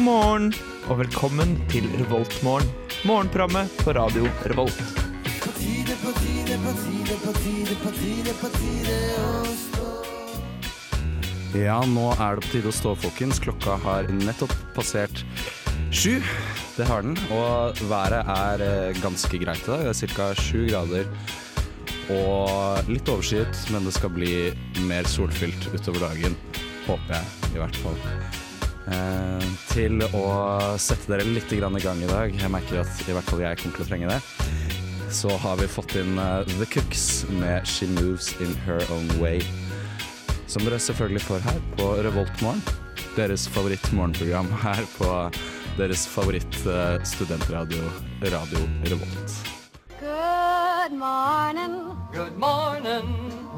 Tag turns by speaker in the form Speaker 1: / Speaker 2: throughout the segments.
Speaker 1: morgen og velkommen til Revoltmorgen. Morgenprogrammet på radio Revolt.
Speaker 2: Ja, nå er det på tide å stå, folkens. Klokka har nettopp passert sju. Det har den. Og været er eh, ganske greit i dag. Det er ca. sju grader og litt overskyet, men det skal bli mer solfylt utover dagen. Håper jeg, i hvert fall. Eh, til å sette dere litt grann i gang i dag, jeg merker at i hvert fall jeg kommer til å trenge det, så har vi fått inn eh, The Cooks med She Moves In Her Own Way som dere selvfølgelig får her på Revoltmorgen. Deres favorittmorgenprogram her på deres favorittstudentradio, Radio Revolt.
Speaker 3: Good morning.
Speaker 4: Good morning.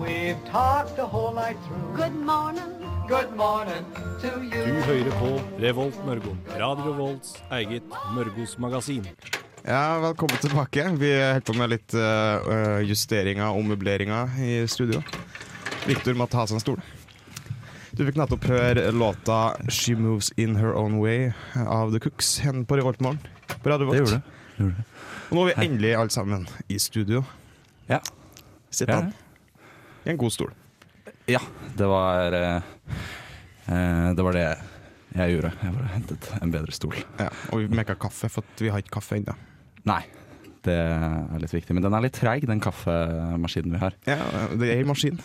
Speaker 4: We've talked the whole night through.
Speaker 3: Good morning.
Speaker 4: Good morning to
Speaker 5: Du
Speaker 4: you.
Speaker 5: hører på Revolt Mørgo. Radio Revolts eget Mørgos magasin.
Speaker 6: Ja, Velkommen tilbake. Vi holder på med litt eh, justeringer og ommøbleringer i studio. Victor måtte ha seg en stol. Du fikk nettopp høre låta 'She Moves In Her Own Way' av The Cooks hen på Revoltmorgen. På Radio Volt.
Speaker 2: du.
Speaker 6: Og nå er vi endelig alle sammen i studio.
Speaker 2: Ja.
Speaker 6: Sitter
Speaker 2: Ja,
Speaker 6: han i en god stol.
Speaker 2: ja det var eh, eh, Det var det jeg gjorde. Jeg bare hentet en bedre stol.
Speaker 6: Ja, og vi mekka kaffe, for at vi har ikke kaffe ennå.
Speaker 2: Nei, det er litt viktig. Men den er litt treig, den kaffemaskinen vi har.
Speaker 6: Ja, det er en maskin.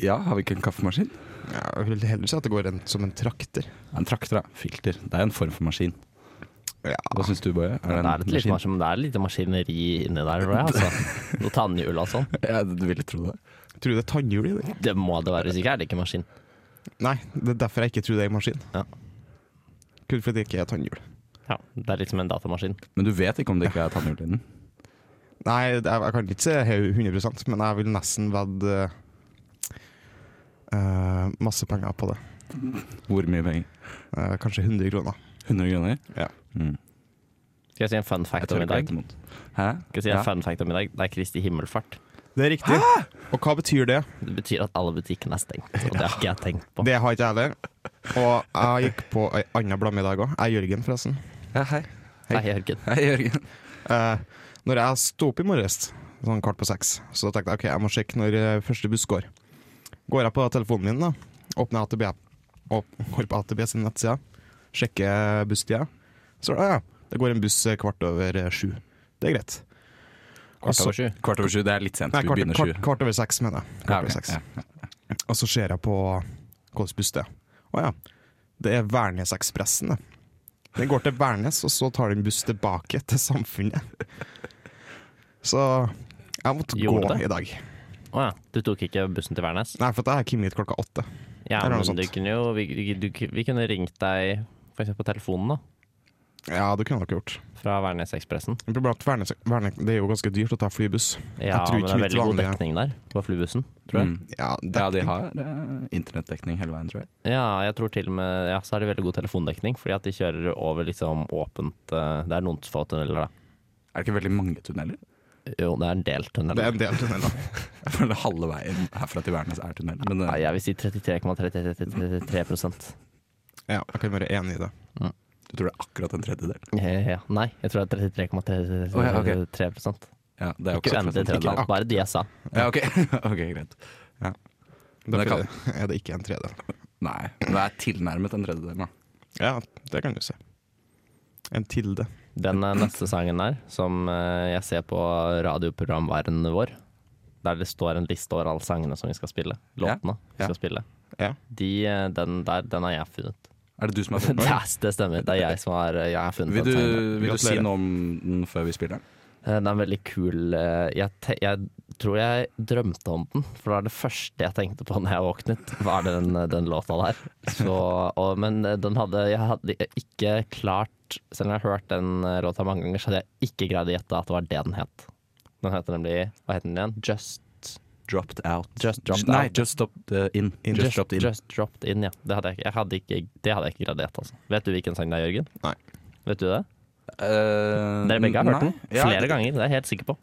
Speaker 2: Ja, har vi ikke en kaffemaskin?
Speaker 6: Ja, jeg vil heller si at det går en, som en trakter.
Speaker 2: En traktor, ja. Filter. Det er en form for maskin.
Speaker 6: Ja.
Speaker 2: Hva syns du, Boje?
Speaker 7: Det
Speaker 2: en
Speaker 7: er, et lite maskin, det er litt maskineri inni der, tror jeg. Altså. Noe tannhjul og sånn.
Speaker 2: Ja, du ville tro det.
Speaker 6: Tror du det er tannhjul i det?
Speaker 7: Det må det være. Hvis ikke er det ikke maskin.
Speaker 6: Nei, det er derfor jeg ikke tror det er en maskin.
Speaker 7: Ja.
Speaker 6: Kun fordi det ikke er tannhjul.
Speaker 7: Ja, det er litt som en datamaskin.
Speaker 2: Men du vet ikke om det ikke er tannhjul i den?
Speaker 6: Nei, jeg, jeg kan ikke si he- 100 men jeg vil nesten vedde eh, masse penger på det.
Speaker 2: Hvor mye penger?
Speaker 6: Eh, kanskje 100 kroner.
Speaker 2: 100 kroner?
Speaker 6: Ja.
Speaker 2: Mm.
Speaker 7: Skal jeg si en fun fact om i dag?
Speaker 2: Hæ?
Speaker 7: Skal jeg si en fun fact om i dag? Det er Kristi himmelfart.
Speaker 6: Det er riktig. Og hva betyr det?
Speaker 7: Det betyr at alle butikkene er stengt. Og det har ikke jeg tenkt på.
Speaker 6: Det har ikke jeg heller. Og jeg gikk på ei anna blamme i dag òg. Jeg er Jørgen, forresten.
Speaker 2: Ja, hei.
Speaker 7: Hei, Jørgen.
Speaker 2: Hei, Jørgen.
Speaker 6: Eh, når jeg sto opp i morges, sånn kvart på seks, så tenkte jeg ok, jeg må sjekke når eh, første buss går. Går jeg på telefonen min, da, åpner AtB, åp, går på AtB sin nettside, sjekker busstida, så ah, ja, det går en buss eh, kvart over eh, sju. Det er greit. Og så-
Speaker 7: sju.
Speaker 2: Kvart over sju, det er litt sent.
Speaker 6: Nei,
Speaker 2: vi
Speaker 6: kvart,
Speaker 2: begynner sju.
Speaker 6: kvart, kvart over seks, mener jeg. Kvart
Speaker 2: Ja, ok,
Speaker 6: over seks.
Speaker 2: ja.
Speaker 6: Og så ser jeg på hvilken buss det er. Å ja, det er Værnesekspressen, det. Den går til Værnes, og så tar den buss tilbake til samfunnet. Så jeg måtte
Speaker 7: Gjorde
Speaker 6: gå
Speaker 7: det?
Speaker 6: i dag.
Speaker 7: Å ja. Du tok ikke bussen til Værnes?
Speaker 6: Nei, for jeg har kommet hit klokka åtte.
Speaker 7: Ja,
Speaker 6: Eller noe
Speaker 7: men du
Speaker 6: sånt.
Speaker 7: kunne jo Vi, du, vi kunne ringt deg for eksempel på telefonen, da.
Speaker 6: Ja, det kunne dere gjort.
Speaker 7: Fra Værnesekspressen.
Speaker 6: Men Problemet er at Værnes, Værnes, det er jo ganske dyrt å ta flybuss.
Speaker 7: Ja,
Speaker 6: Jeg
Speaker 7: men det
Speaker 6: tror ikke
Speaker 7: er
Speaker 6: mitt
Speaker 7: veldig god
Speaker 6: vanlige
Speaker 7: dekning der, på flybussen, tror jeg.
Speaker 2: Mm.
Speaker 6: Ja,
Speaker 2: Ja,
Speaker 6: det,
Speaker 2: de har eh, internettdekning hele veien, tror jeg.
Speaker 7: Ja, jeg tror til og med Ja, så har de veldig god telefondekning, fordi at de kjører over liksom åpent eh, Det er noen få tunneler, da.
Speaker 2: Er det ikke veldig mange tunneler?
Speaker 7: Jo, det er en del
Speaker 6: det
Speaker 7: tunneler.
Speaker 6: er en del tunneler.
Speaker 2: Jeg føler halve veien herfra til Værnes er tunnel. Men
Speaker 7: Nei,
Speaker 2: eh,
Speaker 7: jeg vil si 33,33
Speaker 6: Ja, jeg kan være enig i det.
Speaker 2: du tror det er akkurat en tredjedel?
Speaker 7: ja, Nei, jeg tror det er 33,33
Speaker 2: Å, ja, ok. Ja, det er jo
Speaker 7: Ikke
Speaker 2: ikke
Speaker 7: endelig Trøndelag, bare de jeg sa.
Speaker 2: Ja, ok, ok, greit. Men det
Speaker 6: Derfor er det ikke en tredel.
Speaker 2: Nei, men det er tilnærmet en tredjedel, da.
Speaker 6: Ja, det kan du si. En tilde.
Speaker 7: Den eh, neste sangen der, som eh, jeg ser på radioprogramvaren vår, der det står en liste over alle sangene som vi skal spille,
Speaker 2: Ja,
Speaker 7: låtene vi
Speaker 6: ja.
Speaker 7: skal spille,
Speaker 6: Ja.
Speaker 7: de, eh, den der, den har jeg funnet.
Speaker 2: Er det du som har funnet
Speaker 7: Det,
Speaker 2: den?
Speaker 7: er, det stemmer. Det er jeg som har, jeg har funnet
Speaker 2: Vil
Speaker 7: den
Speaker 2: du,
Speaker 7: sangen.
Speaker 2: vil du si
Speaker 6: Gratulerer.
Speaker 2: noe om den før vi spiller den?
Speaker 7: Eh, Den er veldig kul. Eh, Jeg, te jeg tror jeg drømte om den, for det var det første jeg tenkte på når jeg våknet. Var den, den låta der. Så, og, men den hadde jeg hadde ikke klart Selv om jeg har hørt den eh, låta mange ganger, så hadde jeg ikke greid å gjette at det var det den het. Den heter nemlig Hva het den igjen? Just
Speaker 2: Dropped out.
Speaker 7: Just dropped
Speaker 2: Nei,
Speaker 7: out.
Speaker 2: just stopped eh, in. Just, dropped in.
Speaker 7: Just dropped in, ja. Det hadde jeg, ikke- jeg hadde ikke, det hadde jeg ikke greid å gjette. Altså. Vet du hvilken sang det er, Jørgen?
Speaker 6: Nei.
Speaker 7: Vet du det?
Speaker 2: Eh,
Speaker 7: Dere begge har hørt
Speaker 2: nei.
Speaker 7: den?
Speaker 2: Ja,
Speaker 7: Flere
Speaker 2: det-
Speaker 7: ganger, det er jeg helt sikker på.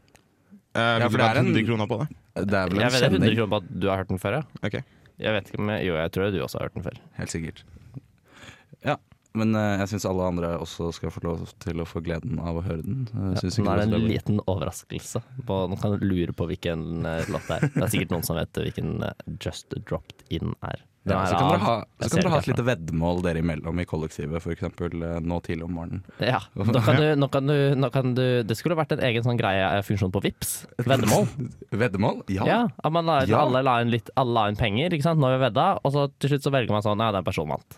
Speaker 6: Eh,
Speaker 2: Ja,
Speaker 6: vil
Speaker 2: for
Speaker 6: du
Speaker 2: det
Speaker 6: ha
Speaker 2: er en-
Speaker 6: 100 kroner på det?
Speaker 2: Det er vel
Speaker 7: Jeg
Speaker 2: en
Speaker 7: vet jeg er 100
Speaker 2: kjenning.
Speaker 7: kroner på at du har hørt den før, ja.
Speaker 6: Ok.
Speaker 7: Jeg vet ikke om jeg, Jo, jeg tror du også har hørt den før.
Speaker 2: Helt sikkert. Ja. Men eh, jeg syns alle andre også skal få lov til å få gleden av å høre den. Jeg synes
Speaker 7: Nå
Speaker 2: ikke
Speaker 7: er det
Speaker 2: så
Speaker 7: en
Speaker 2: veldig-
Speaker 7: liten overraskelse. På, nå kan du lure på hvilken eh, låt det er. Det er sikkert noen som vet hvilken eh, Just Dropped In er. Den
Speaker 2: ja,
Speaker 7: er
Speaker 2: så kan dere
Speaker 7: av-
Speaker 2: ha,
Speaker 7: jeg
Speaker 2: så
Speaker 7: ser
Speaker 2: kan dere ha
Speaker 7: det
Speaker 2: et lite veddemål dere imellom i kollektivet, f.eks. nå tidlig om morgenen.
Speaker 7: Ja, nå kan, du, nå, kan du, nå kan du Det skulle vært en egen sånn greie eh, funksjon på Vips Veddemål.
Speaker 2: Veddemål? Ja.
Speaker 7: Ja, at man la,
Speaker 2: Ja.
Speaker 7: Alle la inn litt Alle la inn penger, ikke sant? Nå har vi vedda, og så til slutt så velger man sånn Ja, den personen vant.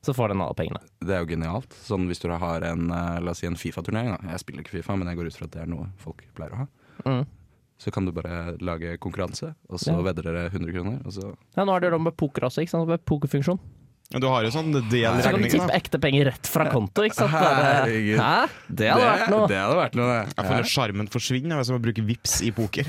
Speaker 7: Så får den alle pengene.
Speaker 2: Det er jo genialt. Sånn hvis du har en, eh, la oss si en Fifa-turnering. da. Jeg spiller ikke Fifa, men jeg går ut fra at det er noe folk pleier å ha.
Speaker 7: Mm.
Speaker 2: Så kan du bare lage konkurranse, og så
Speaker 7: Ja.
Speaker 2: vedder dere 100 kroner. Og så
Speaker 7: Ja, Nå har du det med poker også, ikke sant? Med pokerfunksjon.
Speaker 6: Men du har jo sånn del
Speaker 7: Så kan du tippe
Speaker 6: regninger, da.
Speaker 7: ekte penger rett fra konto, ikke sant? Bare,
Speaker 2: Herregud.
Speaker 7: Hæ? Det hadde vært noe.
Speaker 2: Det hadde vært noe.
Speaker 6: Jeg føler sjarmen forsvinner hvis man bruker vips i poker.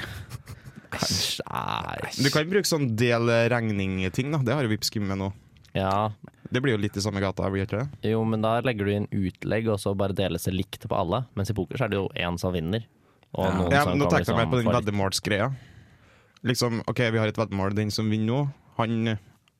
Speaker 7: Æsj, æsj.
Speaker 6: Du kan bruke sånn del regning-ting, da. Det har jo vips kommet med nå.
Speaker 7: Ja,
Speaker 6: Det blir jo litt i samme gata, blir det ikke det?
Speaker 7: jo, men da legger du inn utlegg, og så bare deles det likt på alle. Mens i poker så er det jo én som vinner. Og
Speaker 2: Ja.
Speaker 7: noen
Speaker 6: Ja,
Speaker 7: som
Speaker 6: men nå
Speaker 7: kan
Speaker 6: tenkte jeg mer
Speaker 7: liksom
Speaker 6: på den
Speaker 7: få-
Speaker 6: veddemålsgreia. Liksom, OK, vi har et veddemål. Den som vinner nå, han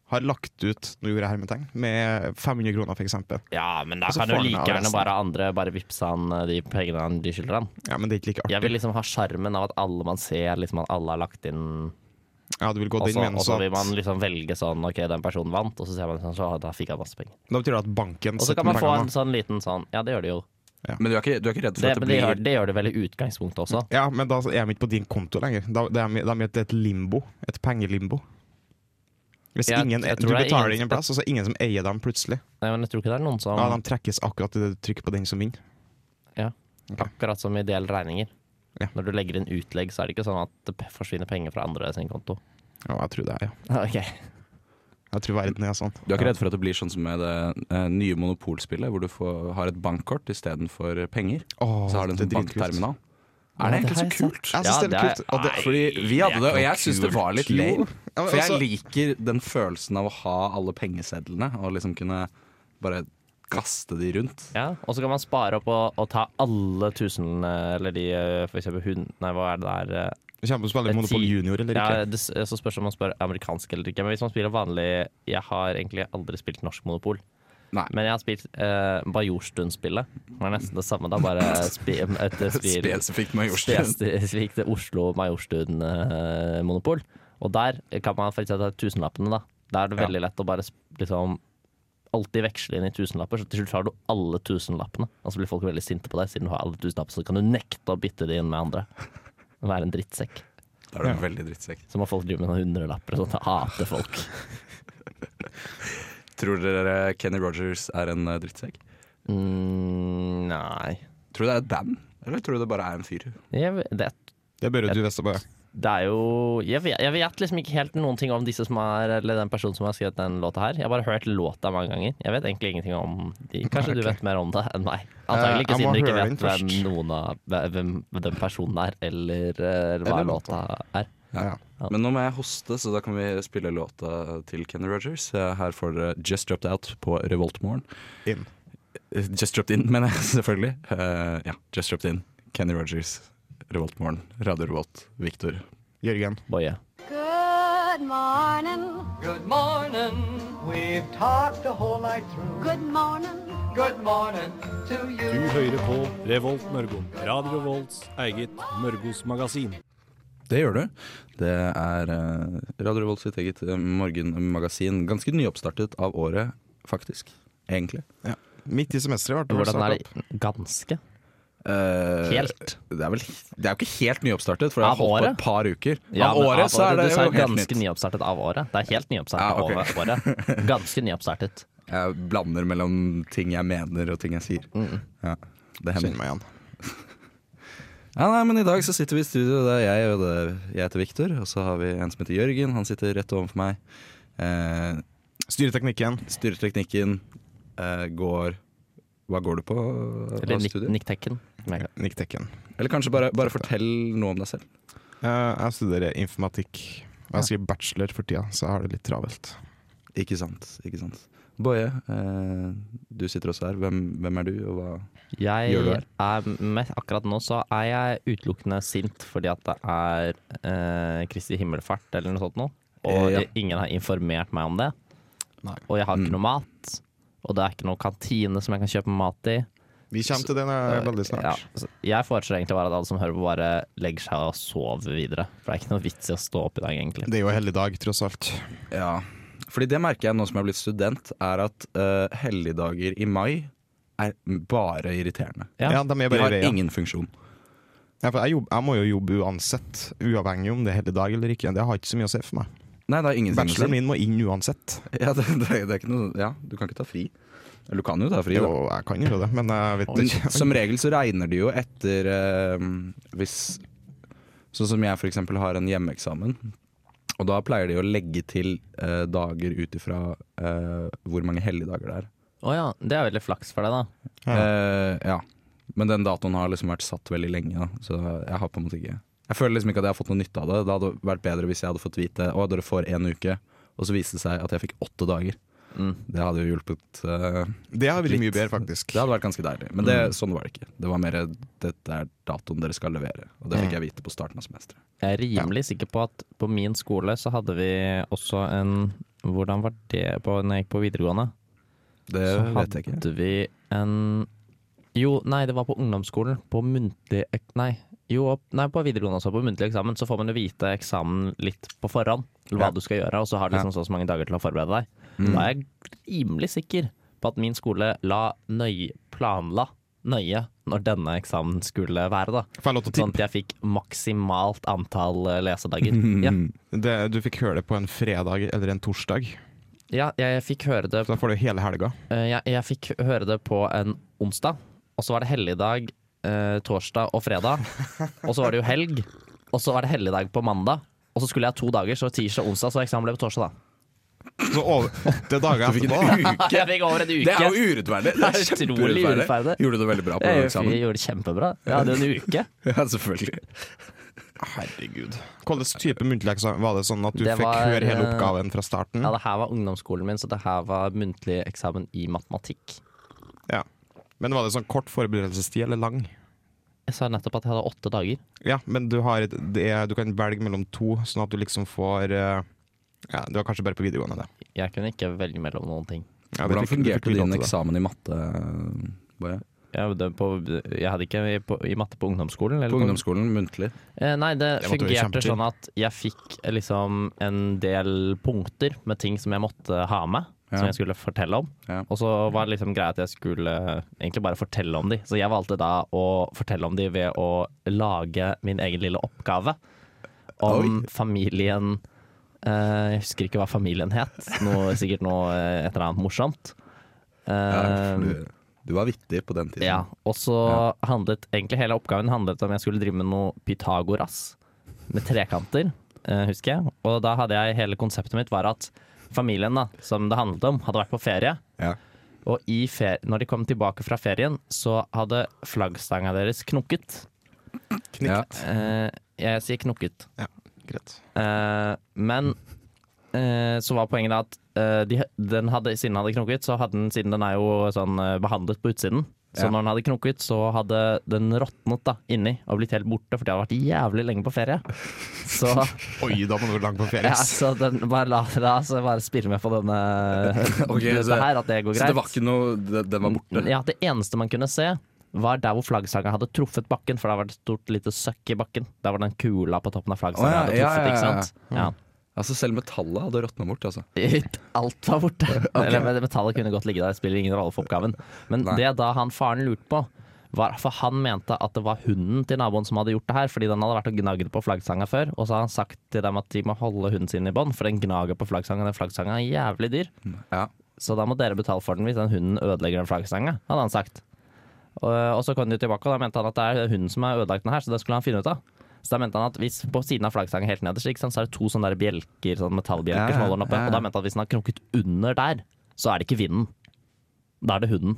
Speaker 6: har lagt ut Nå gjorde jeg hermetegn. Med 500 kroner, for eksempel.
Speaker 7: Ja, men da
Speaker 6: Og så
Speaker 7: kan jo
Speaker 6: får han
Speaker 7: like
Speaker 6: av
Speaker 7: gjerne
Speaker 6: resten.
Speaker 7: bare andre bare vippse han eh, de pengene han de skylder han.
Speaker 6: Ja, men det er ikke like
Speaker 7: Jeg
Speaker 6: artig.
Speaker 7: vil liksom ha sjarmen av at alle man ser, liksom at alle har lagt inn
Speaker 6: Ja, du vil gå
Speaker 7: Og
Speaker 6: den
Speaker 7: så
Speaker 6: veien,
Speaker 7: og så
Speaker 6: så
Speaker 7: Altså, vil man
Speaker 6: at-
Speaker 7: liksom velge sånn OK, den personen vant, og så ser man sånn, så da fikk han masse penger.
Speaker 6: Da betyr det at banken
Speaker 7: Og så
Speaker 6: setter
Speaker 7: kan man få
Speaker 6: pengene.
Speaker 7: en sånn liten sånn Ja, det gjør det jo.
Speaker 2: Men du er ikke, du er ikke redd for
Speaker 7: Det,
Speaker 2: at det
Speaker 7: men det
Speaker 2: blir
Speaker 7: gjør det, gjør det vel i utgangspunktet også.
Speaker 6: Ja, men da er de ikke på din konto lenger. Da, de, er- de er i et limbo. Et pengelimbo. Hvis
Speaker 7: Jeg-
Speaker 6: ingen,
Speaker 7: jeg
Speaker 6: du
Speaker 7: tror det er
Speaker 6: betaler
Speaker 7: ingen-
Speaker 6: ingen plass, og så er det ingen som eier dem plutselig.
Speaker 7: Nei, men jeg tror ikke det er noen som
Speaker 6: Ja, de trekkes akkurat til det trykket på den som vinner. ok.
Speaker 7: Akkurat som i del regninger.
Speaker 6: Ja.
Speaker 7: Når du legger inn utlegg, så er det ikke sånn at det p- forsvinner penger fra andre sin konto.
Speaker 6: Ja, jeg tror det er, ja.
Speaker 7: Ok.
Speaker 6: Jeg tror verden er sånn.
Speaker 2: Du er ikke redd for at det blir sånn som med det eh, nye monopolspillet, hvor du får, har et bankkort istedenfor penger?
Speaker 6: Åh,
Speaker 2: Så har du en
Speaker 6: det
Speaker 2: sånn
Speaker 6: er dritkult.
Speaker 2: bankterminal.
Speaker 7: Ja,
Speaker 2: Er det egentlig
Speaker 7: har
Speaker 2: så
Speaker 7: jeg
Speaker 2: kult?
Speaker 7: sett.
Speaker 6: Jeg synes
Speaker 7: Ja,
Speaker 6: det
Speaker 7: det
Speaker 6: er
Speaker 7: er-
Speaker 6: litt kult. Og det,
Speaker 2: Altså, Fordi vi hadde det, og jeg syns det var litt lame.
Speaker 6: Ja, men
Speaker 2: For jeg
Speaker 6: altså-
Speaker 2: liker den følelsen av å ha alle pengesedlene og liksom kunne bare kaste de rundt.
Speaker 7: Ja, og så kan man spare opp og, og ta alle tusen, eh, eller de eh, for eksempel hund... Nei, hva er det der? eh,
Speaker 6: Vi kommer til å spille Monopol
Speaker 7: Ti-
Speaker 6: Junior eller
Speaker 7: Ja,
Speaker 6: ikke.
Speaker 7: det, eh, så spørs det om man spør amerikansk eller ikke. Men hvis man spiller vanlig Jeg har egentlig aldri spilt norsk Monopol.
Speaker 2: Nei.
Speaker 7: Men jeg har spilt eh, Bajorstuen-spillet. Det er nesten det samme. Da bare spi, et spill
Speaker 2: Spesifikt med jordstein.
Speaker 7: Spesifikt Oslo Majorstuen-monopol. og der kan man for eksempel ta tusenlappene, da. Da er det veldig lett å bare sp- liksom alltid veksle inn i tusenlapper, så til slutt har du alle tusenlappene. Og så blir folk veldig sinte på deg, siden du har alle tusenlapper, så kan du nekte å bytte de inn med andre. Være en drittsekk.
Speaker 2: Da er du en veldig drittsekk.
Speaker 7: Så må folk drive med noen hundrelapper og sånt. Jeg hater folk.
Speaker 2: Tror dere Kenny Rogers er en eh, drittsekk?
Speaker 7: Mm, nei.
Speaker 2: Tror du det er et band, eller tror du det bare er en fyr?
Speaker 7: Jeg, det,
Speaker 6: Det bør jo du vite bare.
Speaker 7: det er jo jeg vet, jeg vet liksom ikke helt noen ting om disse som er Eller den personen som har skrevet den låta her. Jeg har bare hørt låta mange ganger. Jeg vet egentlig ingenting om de. Kanskje
Speaker 6: ok.
Speaker 7: du vet mer om det enn meg. Antagelig
Speaker 6: Eh,
Speaker 7: ikke,
Speaker 6: jeg må
Speaker 7: siden du ikke
Speaker 6: høre den
Speaker 7: vet hvem,
Speaker 6: først.
Speaker 7: noen av, hvem den personen er, eller, eh, hva
Speaker 6: Eller
Speaker 7: låta er.
Speaker 6: Ja.
Speaker 2: Men nå må jeg hoste, så da kan vi spille låta til Kenny Rogers. Eh, Her får dere Just Dropped Out på Revoltmorgen.
Speaker 6: Inn.
Speaker 2: Eh, Just Dropped In, mener jeg selvfølgelig. Eh, ja, Just Dropped In. Kenny Rogers, Revoltmorgen. Radio Revolt. Victor.
Speaker 6: Jørgen.
Speaker 7: Boje.
Speaker 3: Good morning.
Speaker 4: Good morning. We've talked the whole night through.
Speaker 3: Good morning.
Speaker 4: Good morning to
Speaker 5: Du
Speaker 4: you.
Speaker 5: hører på Revolt Mørgo. Radio Revolts eget Mørgos magasin.
Speaker 2: Det gjør du. Det er eh, Radio Revolt sitt eget eh, morgenmagasin. Ganske nyoppstartet av året, faktisk. Egentlig.
Speaker 6: Midt i semesteret ble det
Speaker 7: Hvordan er
Speaker 6: startet opp.
Speaker 7: det? Ganske.
Speaker 2: Eh,
Speaker 7: Helt.
Speaker 2: Det er, vel, det er jo ikke helt nyoppstartet, for det har
Speaker 7: Av
Speaker 2: holdt på
Speaker 7: året?
Speaker 2: et par uker.
Speaker 7: Ja,
Speaker 2: av
Speaker 7: men
Speaker 2: året så er det
Speaker 7: du sa
Speaker 2: jo helt
Speaker 7: ganske
Speaker 2: nytt.
Speaker 7: nyoppstartet av året. Det er helt nyoppstartet
Speaker 2: Ja, ok.
Speaker 7: av året. Ganske nyoppstartet.
Speaker 2: Jeg blander mellom ting jeg mener og ting jeg sier. Ja, det
Speaker 6: Kjenner
Speaker 2: hender.
Speaker 6: meg igjen.
Speaker 2: Ja, nei, men I dag så sitter vi i studio. Det er jeg, og det, jeg heter Viktor. Og så har vi en som heter Jørgen. Han sitter rett overfor meg. Eh,
Speaker 6: Styreteknikken.
Speaker 2: styrer teknikken. Eh, går Hva går du på? eh,
Speaker 7: Eller
Speaker 2: av
Speaker 7: Nick,
Speaker 2: studiet?
Speaker 7: Nick Tekken.
Speaker 6: Nick Tekken.
Speaker 2: Eller kanskje bare, bare fortell noe om deg selv.
Speaker 6: Eh, jeg studerer informatikk. Og jeg skriver bachelor for tida, så jeg har det litt travelt.
Speaker 2: Ikke sant. ikke sant Boje, eh, du sitter også her. Hvem, hvem er du, og hva
Speaker 7: Jeg
Speaker 2: Gjør du det?
Speaker 7: er med, akkurat nå så er jeg utelukkende sint fordi at det er eh, Kristi himmelfart eller noe sånt nå. Og
Speaker 2: Eh, ja.
Speaker 7: det- ingen har informert meg om det.
Speaker 2: Nei.
Speaker 7: Og jeg har
Speaker 2: Mm.
Speaker 7: ikke noe mat. og det er ikke noen kantine som jeg kan kjøpe mat i.
Speaker 6: Vi kommer til den eh, veldig
Speaker 7: Ja,
Speaker 6: snart.
Speaker 7: så jeg foreslår egentlig bare at alle som hører på, bare legger seg og sover videre. For det er ikke noe vits i å stå opp i dag, egentlig.
Speaker 6: Det er jo helligdag, tross alt.
Speaker 2: Ja. Fordi det merker jeg nå som jeg har blitt student, er at eh, helligdager i mai er bare irriterende.
Speaker 7: Ja.
Speaker 6: Ja, de
Speaker 2: De
Speaker 6: er bare i
Speaker 2: har
Speaker 6: veien.
Speaker 2: ingen funksjon.
Speaker 6: Ja, for jeg, jobb, jeg må jo jobbe uansett, uavhengig om det er helligdag eller ikke. Det har ikke så mye å si for meg.
Speaker 2: Nei, det er ingenting å si.
Speaker 6: Bacheloren min må inn uansett.
Speaker 2: Ja, det, det, det er ikke noe, ja, du kan ikke ta fri. Eller du kan jo ta fri, da.
Speaker 6: Jo, jeg kan jo det, men jeg vet
Speaker 2: Men
Speaker 6: ikke.
Speaker 2: som regel så regner det jo etter eh, hvis Sånn som jeg for eksempel har en hjemmeeksamen. Og da pleier de å legge til eh, dager ut ifra eh, hvor mange helligdager det er.
Speaker 7: Å ja, det er veldig flaks for deg, da.
Speaker 6: Ja.
Speaker 2: Eh, ja. Men den datoen har liksom vært satt veldig lenge, da. så jeg har på en måte ikke Jeg føler liksom ikke at jeg har fått noe nytte av det. Det hadde vært bedre hvis jeg hadde fått vite å, dere får én uke, og så viste det seg at jeg fikk åtte dager.
Speaker 7: Mm.
Speaker 2: Det hadde jo hjulpet. eh,
Speaker 6: Det har vært
Speaker 2: Litt.
Speaker 6: mye bedre, faktisk.
Speaker 2: det hadde vært ganske deilig. Men det, sånn var det ikke. Det var mer dette er datoen dere skal levere, og det fikk jeg vite på starten av semesteret.
Speaker 7: Jeg er rimelig sikker på at på min skole så hadde vi også en Hvordan var det på, når jeg gikk på videregående?
Speaker 2: Det
Speaker 7: Så
Speaker 2: vet jeg ikke.
Speaker 7: hadde vi en Jo, nei, det var på ungdomsskolen. På muntlig ek- Nei, jo, opp- nei, på videregående også. På muntlig eksamen så får man jo vite eksamen litt på forhånd. Eller hva
Speaker 2: Ja. Mm.
Speaker 7: du skal gjøre, og så har du liksom så og så mange dager til å forberede deg. Da er jeg rimelig sikker på at min skole la nøye planla nøye når denne eksamen skulle være, da.
Speaker 6: Får jeg lov til å
Speaker 7: Sånn
Speaker 6: tippe?
Speaker 7: at jeg fikk maksimalt antall eh, lesedager. Ja,
Speaker 6: Det, du fikk høre det på en fredag eller en torsdag.
Speaker 7: ja jeg fikk høre det
Speaker 6: Så da får du hele helga.
Speaker 7: Eh, jeg, jeg fikk høre det på en onsdag, og så var det helligdag eh, torsdag og fredag. Og så var det jo helg, og så var det helligdag på mandag. Og så skulle jeg ha to dager, så tirsdag og onsdag, så eksamen ble på torsdag. da.
Speaker 6: Så over åtte dager etterpå.
Speaker 7: Jeg fikk over en uke.
Speaker 2: Det er jo urettferdig! Det er
Speaker 7: Det er utrolig
Speaker 2: kjempeurettferdig.
Speaker 7: urettferdig.
Speaker 2: Gjorde du det veldig bra på
Speaker 7: jeg,
Speaker 2: den
Speaker 7: gjorde- jeg
Speaker 2: eksamen?
Speaker 7: gjorde det kjempebra. Jeg hadde jo en uke.
Speaker 2: Ja, selvfølgelig.
Speaker 6: Herregud. Hvilken type muntlig eksamen var det sånn at du
Speaker 7: Det
Speaker 6: fikk
Speaker 7: var,
Speaker 6: høre hele
Speaker 7: eh,
Speaker 6: oppgaven fra starten?
Speaker 7: Ja, det her var ungdomsskolen min, så det her var muntlig eksamen i matematikk.
Speaker 6: Ja. Men var det sånn kort forberedelsestid eller lang?
Speaker 7: Jeg sa nettopp at jeg hadde åtte dager.
Speaker 6: Ja, men du, har, et- det, er- du kan velge mellom to, sånn at du liksom får eh, Ja, det var kanskje bare på videregående, det.
Speaker 7: Jeg kunne ikke velge mellom noen ting.
Speaker 6: Ja, du
Speaker 2: Hvordan
Speaker 6: fikk- du fikk
Speaker 2: fungerte din
Speaker 6: lov til det.
Speaker 2: eksamen i matte? Boje?
Speaker 7: Jeg, hadde på, jeg hadde ikke i- på, i matte på ungdomsskolen. Eller
Speaker 2: På ungdomsskolen, muntlig.
Speaker 7: Eh, Nei, det,
Speaker 6: Det måtte vi kjempe
Speaker 7: fungerte
Speaker 6: til.
Speaker 7: sånn at jeg fikk eh, liksom en del punkter med ting som jeg måtte ha med.
Speaker 2: Ja.
Speaker 7: Som jeg skulle fortelle om.
Speaker 2: Ja.
Speaker 7: Og så var det liksom greia at jeg skulle egentlig bare fortelle om de. Så jeg valgte da å fortelle om de ved å lage min egen lille oppgave om familien eh, Jeg husker ikke hva familien het. Noe, sikkert noe eh, et eller annet morsomt.
Speaker 2: Ja,
Speaker 7: Eh,
Speaker 2: du, du var vittig på den tiden.
Speaker 7: ja, og så handlet egentlig hele oppgaven handlet om jeg skulle drive med noe Pythagoras med trekanter, eh, husker jeg. Og da hadde jeg hele konseptet mitt var at familien da, som det handlet om, hadde vært på ferie.
Speaker 2: Ja.
Speaker 7: Og i fer når de kom tilbake fra ferien, så hadde flaggstanga deres knukket.
Speaker 2: Ja.
Speaker 7: Eh, jeg sier knukket.
Speaker 6: Greit.
Speaker 7: Eh, men eh, så var poenget da at eh, de, den hadde, siden den hadde knokket, så hadde den, siden den er jo sånn eh, behandlet på utsiden Så
Speaker 2: Ja.
Speaker 7: når den hadde knokket, så hadde den råtnet da, inni og blitt helt borte, for de hadde vært jævlig lenge på ferie. Så,
Speaker 6: Oi, da må du være langt på ferie.
Speaker 7: ja,
Speaker 6: ass.
Speaker 7: så den, bare la det da, så bare spille med på denne
Speaker 2: Ok, så-
Speaker 7: dette her, at det går greit.
Speaker 2: Så det var ikke noe det- Den var borte?
Speaker 7: Ja, det eneste man kunne se var der hvor flaggstanga hadde truffet bakken, for der var det et stort lite søkk i bakken. Der var den kula på toppen av
Speaker 2: Å,
Speaker 7: flaggstanga
Speaker 2: ja,
Speaker 7: hadde
Speaker 2: ja,
Speaker 7: truffet,
Speaker 2: ja, ja, ja.
Speaker 7: ikke sant? Ja.
Speaker 2: Altså Selv metallet hadde råtna bort, altså.
Speaker 7: Alt var borte. Eller men metallet kunne godt ligge der, det spiller ingen rolle for oppgaven. Men
Speaker 2: Nei.
Speaker 7: det da han faren lurte på, var for han mente at det var hunden til naboen som hadde gjort det her, fordi den hadde vært og gnagd på flaggstanga før, og så har han sagt til dem at de må holde hunden sin i bånd, for den gnager på flaggstanga, den flaggstanga er jævlig dyr.
Speaker 2: Ja.
Speaker 7: Så da må dere betale for den hvis den hunden ødelegger den flaggstanga, hadde han sagt. Og, og så kom de tilbake, og da mente han at det er hunden som har ødelagt den her, så det skulle han finne ut av. Så da mente han at hvis på siden av flaggstanga helt nederst, ikke sant, så er det to sånne der bjelker, sånne metallbjelker
Speaker 2: Ja,
Speaker 7: som holder den oppe.
Speaker 2: ja, ja.
Speaker 7: Og da mente han at hvis den har krukket under der, så er det ikke vinden. Da er det hunden.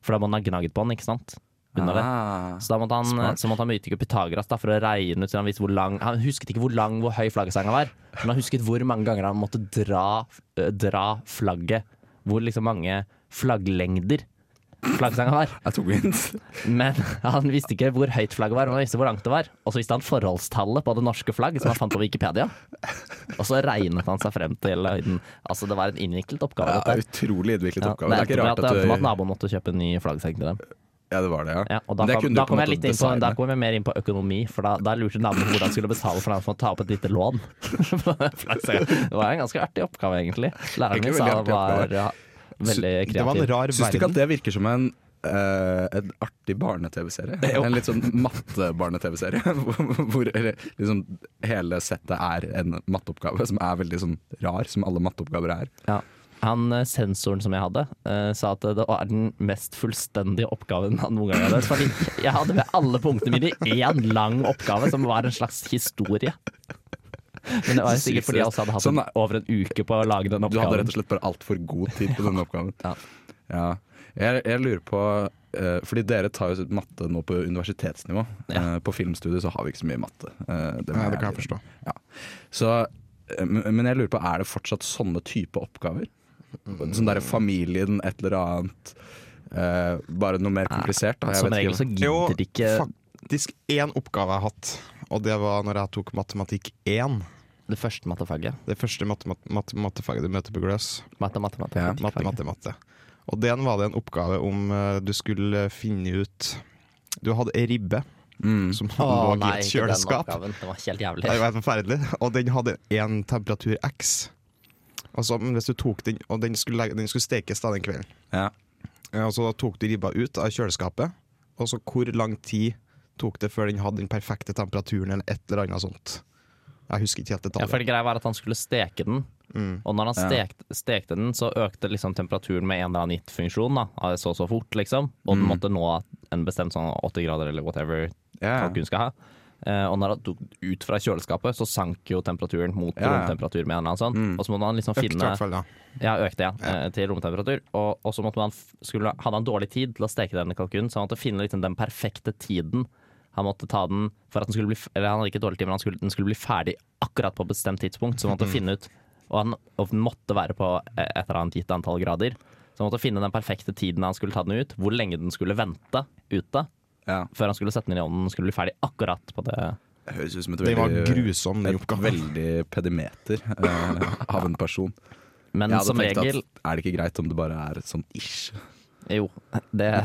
Speaker 7: For da må den ha gnaget på den, ikke sant. Under det.
Speaker 2: Ah.
Speaker 7: Så da måtte han,
Speaker 2: smart.
Speaker 7: så måtte han myte ikke Pythagoras da, for å regne ut så han visste hvor lang Han husket ikke hvor lang, hvor høy flaggstanga var, men han husket hvor mange ganger han måtte dra, eh, dra flagget. Hvor liksom mange flagglengder flaggstanga var.
Speaker 2: Jeg tok hint.
Speaker 7: Men han visste ikke hvor høyt flagget var, men han visste hvor langt det var. Og så visste han forholdstallet på det norske flagg, som han fant på Wikipedia. Og så regnet han seg frem til høyden. Altså, det var en innviklet oppgave.
Speaker 2: Ja,
Speaker 7: dette.
Speaker 2: utrolig innviklet
Speaker 7: Ja,
Speaker 2: oppgave. det er
Speaker 7: det endte
Speaker 2: ikke
Speaker 7: med
Speaker 2: rart
Speaker 7: at,
Speaker 2: at,
Speaker 7: det endte med at
Speaker 2: du-
Speaker 7: naboen måtte kjøpe en ny flaggseng til dem.
Speaker 2: Ja, det var det, ja.
Speaker 7: Ja, og da,
Speaker 2: Det
Speaker 7: kom,
Speaker 2: kunne du
Speaker 7: da,
Speaker 2: på en
Speaker 7: kom jeg
Speaker 2: måte
Speaker 7: litt inn på, da
Speaker 2: designe.
Speaker 7: kom jeg mer inn på økonomi, for da, da lurte naboen på hvordan han skulle betale for han for å ta opp et lite lån. det var en ganske artig oppgave, egentlig. Læreren min
Speaker 2: Egentlig
Speaker 7: sa
Speaker 2: veldig artig
Speaker 7: det var ja, veldig
Speaker 6: Det var en
Speaker 7: kreativ.
Speaker 6: rar
Speaker 2: Syns du ikke at
Speaker 6: verden.
Speaker 2: det virker som en eh, en artig barne-TV-serie? En litt sånn matte-barne-TV-serie. Hvor, hvor eller liksom hele settet er en matteoppgave som er veldig sånn rar, som alle matteoppgaver er.
Speaker 7: Ja. Han eh, sensoren som jeg hadde, eh, sa at det var den mest fullstendige oppgaven han noen gang hadde. Fordi jeg hadde med alle punktene mine i én lang oppgave som var en slags historie. Men det var
Speaker 2: Så sykt
Speaker 7: sikkert fordi jeg også hadde hatt en-
Speaker 2: Sånn er-
Speaker 7: over en uke på å lage den
Speaker 2: Du hadde rett
Speaker 7: oppgaven.
Speaker 2: og slett bare altfor god tid på denne oppgaven.
Speaker 7: Ja.
Speaker 2: Ja. Jeg, jeg lurer på eh, Fordi dere tar jo matte nå på universitetsnivå.
Speaker 7: Ja.
Speaker 2: Eh, på filmstudiet så har vi ikke så mye matte. Eh, må
Speaker 6: Nei, det kan jeg
Speaker 2: si.
Speaker 6: forstå.
Speaker 2: Ja. Så, eh, men men jeg lurer på, er det fortsatt sånne type oppgaver? Sånn derre familien, et eller annet. eh, bare noe mer komplisert, da. Jeg
Speaker 7: Som
Speaker 2: vet
Speaker 7: regel
Speaker 2: ikke.
Speaker 7: så
Speaker 6: Jo,
Speaker 7: gidder ikke
Speaker 6: faktisk én oppgave jeg har hatt, og det var når jeg tok matematikk 1.
Speaker 7: det første mattefaget.
Speaker 6: Det første matte, matte, matte, mattefaget du møter på gløs.
Speaker 7: Matte, matte, matte.
Speaker 2: Ja.
Speaker 6: Matte, matte, matte. Og den var det en oppgave om eh, du skulle finne ut Du hadde ei ribbe
Speaker 2: Mm.
Speaker 6: som
Speaker 7: Å,
Speaker 6: lå i
Speaker 7: nei,
Speaker 6: et
Speaker 7: ikke den
Speaker 6: kjøleskap.
Speaker 7: oppgaven. Den var helt
Speaker 6: Ja, Det
Speaker 7: jævlig.
Speaker 6: var helt forferdelig. Og den hadde en temperatur X. Altså, men hvis du tok den, og den skulle, legge- den skulle stekes da den kvelden.
Speaker 2: Ja.
Speaker 6: Ja, Og så tok du ribba ut av kjøleskapet, og så hvor lang tid tok det før den hadde den perfekte temperaturen, eller et eller annet sånt. Jeg husker ikke
Speaker 7: Ja,
Speaker 6: helt
Speaker 7: for
Speaker 6: detaljer.
Speaker 7: det greia var at han skulle steke den, og når han stekte, stekte den, så økte liksom temperaturen med en eller annen gitt-funksjon, da, av så så fort, liksom, og den måtte nå en bestemt sånn 80 grader eller whatever
Speaker 2: Ja.
Speaker 7: tank hun skal ha. Eh, og når han tok den ut fra kjøleskapet, så sank jo temperaturen mot
Speaker 2: Ja, ja.
Speaker 7: romtemperatur med en eller annen sånn, og så måtte han liksom
Speaker 6: Økt i
Speaker 7: finne
Speaker 6: hvert fall, ja.
Speaker 7: Ja, økte, ja. eh, Til romtemperatur. Og, og så måtte man, f- skulle, hadde han dårlig tid til å steke denne kalkunen, så han måtte finne liksom den perfekte tiden. Han måtte ta den for at den skulle bli f- Eller han hadde ikke dårlig tid, men han skulle, den skulle bli ferdig akkurat på bestemt tidspunkt. Så
Speaker 2: Mhm.
Speaker 7: han måtte finne ut Og, han, og den måtte være på eh, et eller annet gitt antall grader. Så han måtte finne den perfekte tiden han skulle ta den ut, hvor lenge den skulle vente ute
Speaker 2: Ja.
Speaker 7: før han skulle sette den inn i ovnen. Den skulle bli ferdig akkurat på det
Speaker 2: Det høres ut som et
Speaker 6: Den var
Speaker 2: veldig,
Speaker 6: grusom, den
Speaker 2: et
Speaker 6: oppgaven.
Speaker 2: veldig pedimeter eh, av en person.
Speaker 7: Men
Speaker 2: Jeg hadde
Speaker 7: som
Speaker 2: tenkt
Speaker 7: regel
Speaker 2: at er det ikke greit om det bare er sånn ish?
Speaker 7: Jo, det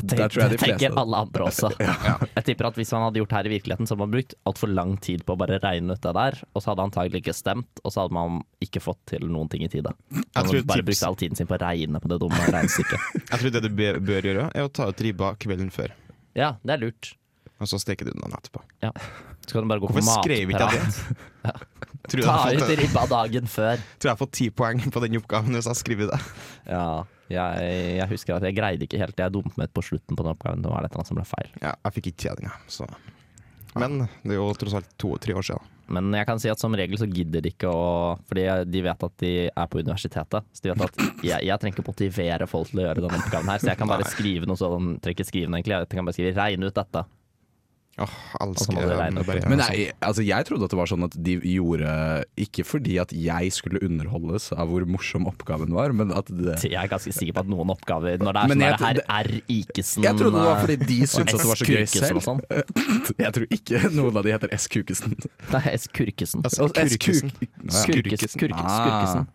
Speaker 2: Der tror jeg de
Speaker 7: tenker,
Speaker 2: fleste-
Speaker 7: tenker alle andre også. Jeg tipper at Hvis han hadde gjort det her i virkeligheten, så hadde man brukt altfor lang tid på å bare regne ut det der, og så hadde antagelig ikke stemt, og så hadde man ikke fått til noen ting i tide. Man
Speaker 6: tror
Speaker 7: hadde bare
Speaker 6: tips-
Speaker 7: brukt all tiden sin på å regne på det dumme regnestykket.
Speaker 6: Jeg tror det du be- bør gjøre, er å ta ut ribba kvelden før,
Speaker 7: Ja, det er lurt.
Speaker 6: og så steke du den etterpå.
Speaker 7: Ja. Så kan du bare gå for
Speaker 6: Hvorfor skrev ikke jeg
Speaker 7: matprat.
Speaker 6: det? Tror jeg
Speaker 7: Ta
Speaker 6: hadde
Speaker 7: ut
Speaker 6: fått-
Speaker 7: ribba dagen før.
Speaker 6: tror jeg har fått ti poeng på den oppgaven hvis jeg skriver det.
Speaker 7: Ja, jeg, jeg husker at jeg greide ikke helt. Jeg dummet meg ut på slutten på den oppgaven. Det var et eller annet som ble feil.
Speaker 6: Ja, jeg fikk ikke tjeninga, så Men det er jo tross alt to-tre år siden.
Speaker 7: Men jeg kan si at som regel så gidder de ikke å Fordi de vet at de er på universitetet. Så de vet at jeg, jeg trenger ikke motivere folk til å gjøre denne oppgaven her. Så jeg kan bare skrive noe sånn Trenger ikke skrive den egentlig. Jeg kan bare skrive 'regn ut dette'.
Speaker 6: Åh,
Speaker 7: så må
Speaker 6: elsker
Speaker 7: det regne
Speaker 6: det.
Speaker 7: opp.
Speaker 6: Bare,
Speaker 2: Men jeg, altså jeg trodde at det var sånn at de gjorde Ikke fordi at jeg skulle underholdes av hvor morsom oppgaven var, men at det
Speaker 7: Så Jeg er ganske sikker på at noen oppgaver Når det er
Speaker 2: Men
Speaker 7: sånn
Speaker 2: jeg
Speaker 7: der, her
Speaker 2: trodde-
Speaker 7: R. Ikesen
Speaker 2: Jeg trodde det var
Speaker 7: eh,
Speaker 2: fordi de syntes at det var så gøy
Speaker 7: S. Kurkesen og sånn.
Speaker 2: selv. Jeg tror ikke noen av de heter S. Kukesen.
Speaker 7: Nei, S. Kurkesen.
Speaker 6: Altså, Kurkesen.
Speaker 7: Skurkes, kurkes, Skurkesen.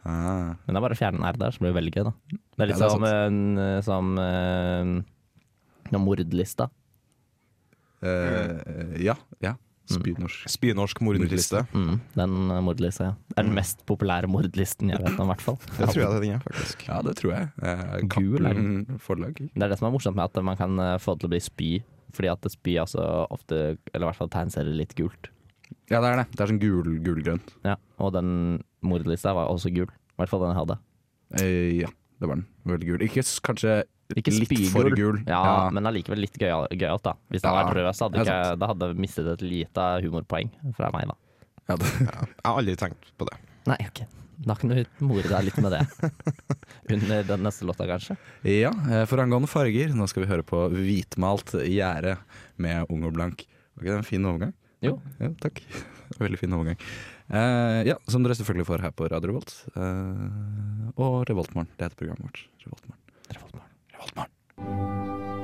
Speaker 2: Ah.
Speaker 7: Men det er bare å fjerne en R der, så blir det veldig gøy, da. Det er litt
Speaker 2: Ja, det er
Speaker 7: som, en, eh, som eh, noe mordlista.
Speaker 2: Eh, ja. ja. Spynorsk.
Speaker 6: Spynorsk mordliste.
Speaker 7: Mm, den eh, mordlista, ja. Det er den mest populære mordlisten jeg vet om, i hvert fall.
Speaker 6: Det tror jeg det er den er, faktisk.
Speaker 2: Ja, det tror jeg. Eh,
Speaker 7: Gul er
Speaker 2: Cappelen forlag.
Speaker 7: Det er det som er morsomt med at man kan eh, få det til å bli spy. Fordi at spy altså ofte, eller i hvert fall tegneserier, litt gult.
Speaker 2: Ja, det er det. Det er sånn gul, gulgrønt.
Speaker 7: Ja, og den mordlista var også gul. I hvert fall den jeg hadde.
Speaker 2: Eh, ja, det var den. Veldig gul. Ikke s- kanskje
Speaker 7: Ikke
Speaker 2: litt
Speaker 7: spygul.
Speaker 2: for gul.
Speaker 7: Ja, Men allikevel litt gøyal- gøyalt, da. Hvis den
Speaker 2: Ja,
Speaker 7: hadde vært rød, så hadde
Speaker 2: det er
Speaker 7: ikke, da hadde jeg mistet et lite humorpoeng fra meg, da.
Speaker 2: ja, det,
Speaker 6: Jeg har aldri tenkt på det.
Speaker 7: Nei, ok. Da kan du more deg litt med det. Under den neste låta, kanskje.
Speaker 2: Ja, eh, for angående farger, nå skal vi høre på hvitmalt gjerde med ung og blank. Var ikke det en fin overgang?
Speaker 7: Jo.
Speaker 2: Ja, takk. Veldig fin overgang. Eh, ja, som dere selvfølgelig får her på Radio Revolt. Eh, og Revoltmorgen. Det heter programmet vårt. Revoltmorgen. Revoltmorgen. Revoltmorgen.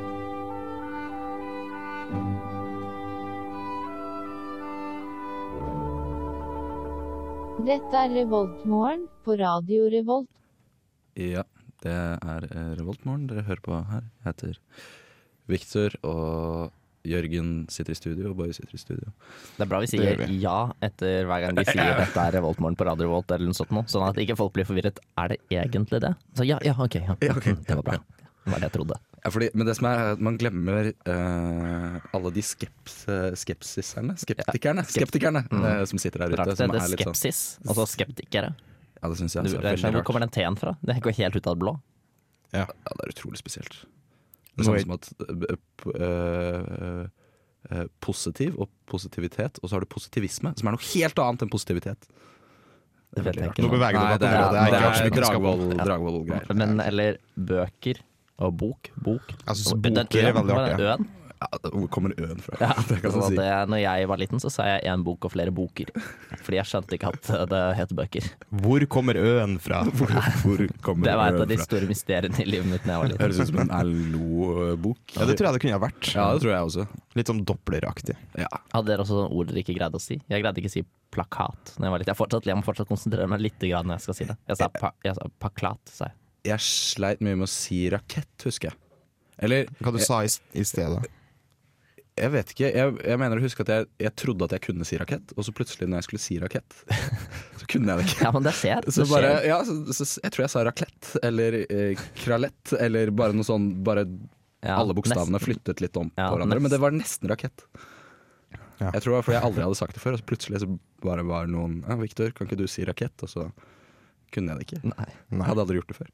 Speaker 8: Dette er Revoltmorgen på Radio Revolt.
Speaker 2: Ja, det er eh, Revoltmorgen dere hører på her. Jeg heter Victor, og Jørgen sitter i studio, og Boje sitter i studio.
Speaker 7: Det er bra vi
Speaker 6: Det
Speaker 7: sier
Speaker 6: gjør vi.
Speaker 7: ja etter hver gang vi sier dette er Revoltmorgen på Radio Revolt eller noe sånt nå, sånn at ikke folk blir forvirret. Er det egentlig det? Så ja, ja, ok. Ja.
Speaker 2: Ja, ok.
Speaker 7: Mm, Det var bra. Det var det jeg trodde.
Speaker 2: Ja, fordi, men det som er, er at man glemmer eh, alle de skeps, eh, skepsiserne, skeptikerne, skeptikerne eh, som sitter der
Speaker 7: Mm. Rart
Speaker 2: ute.
Speaker 7: det
Speaker 2: Som
Speaker 7: heter
Speaker 2: er litt sånn,
Speaker 7: skepsis, altså skeptikere.
Speaker 2: ja, det syns jeg
Speaker 7: Du,
Speaker 2: altså, er
Speaker 7: jeg
Speaker 2: veldig
Speaker 7: skjønner, hvor
Speaker 2: rart.
Speaker 7: kommer den T-en fra? Det går helt ut av det blå.
Speaker 2: Ja, det er utrolig spesielt. Det er
Speaker 6: Nå er-
Speaker 2: samme som at eh, p- eh, eh, positiv og positivitet, og så har du positivisme, som er noe helt annet enn positivitet.
Speaker 7: Det vet jeg ikke
Speaker 6: Nå
Speaker 7: noe om.
Speaker 6: beveger du
Speaker 2: Nei,
Speaker 6: deg på
Speaker 2: det
Speaker 6: et
Speaker 2: er,
Speaker 6: område jeg
Speaker 2: det
Speaker 6: ikke har så
Speaker 2: er
Speaker 6: mye kunnskap om.
Speaker 2: Dragvoll- Dragvoll-greier.
Speaker 7: Men eller bøker og bok. Bok.
Speaker 6: Jeg synes
Speaker 7: Og- den
Speaker 6: boker er
Speaker 7: øen,
Speaker 6: veldig
Speaker 7: var det
Speaker 6: artig.
Speaker 7: Øen.
Speaker 2: Ja, hvor kommer øen fra?
Speaker 7: Ja,
Speaker 2: det kan man
Speaker 7: så
Speaker 2: si.
Speaker 7: det, når jeg var liten, så sa jeg én bok og flere boker. Fordi jeg skjønte ikke at det het bøker.
Speaker 6: Hvor kommer øen fra?
Speaker 2: Hvor, hvor kommer
Speaker 7: Det var et av
Speaker 2: øen
Speaker 7: de
Speaker 2: fra?
Speaker 7: store mysteriene i livet mitt da jeg var liten.
Speaker 2: Høres ut som en LO-bok.
Speaker 6: Ja, Det tror jeg det kunne ha vært.
Speaker 2: Ja, det tror jeg også.
Speaker 6: Litt sånn Doppler-aktig.
Speaker 2: Ja.
Speaker 7: Hadde dere også sånne ord dere ikke greide å si? Jeg greide ikke å si plakat. Når jeg, var litt. Jeg, fortsatt, jeg må fortsatt konsentrere meg litt grann når jeg skal si det. Jeg sa, pa, jeg sa paklat, sa jeg.
Speaker 2: Jeg sleit mye med å si rakett, husker jeg. Eller
Speaker 6: Hva du sa i, s- i stedet?
Speaker 2: jeg vet ikke. Jeg, jeg mener å huske at jeg, jeg trodde at jeg kunne si rakett, og så plutselig når jeg skulle si rakett, så kunne jeg det ikke.
Speaker 7: Ja, men det skjer. Det
Speaker 2: Så bare,
Speaker 7: skjer.
Speaker 2: ja, så, så, jeg tror jeg sa raklett eller eh, kralett eller bare noe sånn Bare
Speaker 7: Ja,
Speaker 2: alle bokstavene
Speaker 7: nesten.
Speaker 2: flyttet litt om
Speaker 7: Ja,
Speaker 2: på hverandre. Men det var nesten rakett.
Speaker 6: Ja.
Speaker 2: Jeg tror det var fordi jeg aldri hadde sagt det før, og så plutselig så bare var noen ja, 'Victor, kan ikke du si rakett?' Og så kunne jeg det ikke.
Speaker 7: Nei.
Speaker 2: Jeg hadde aldri gjort det før.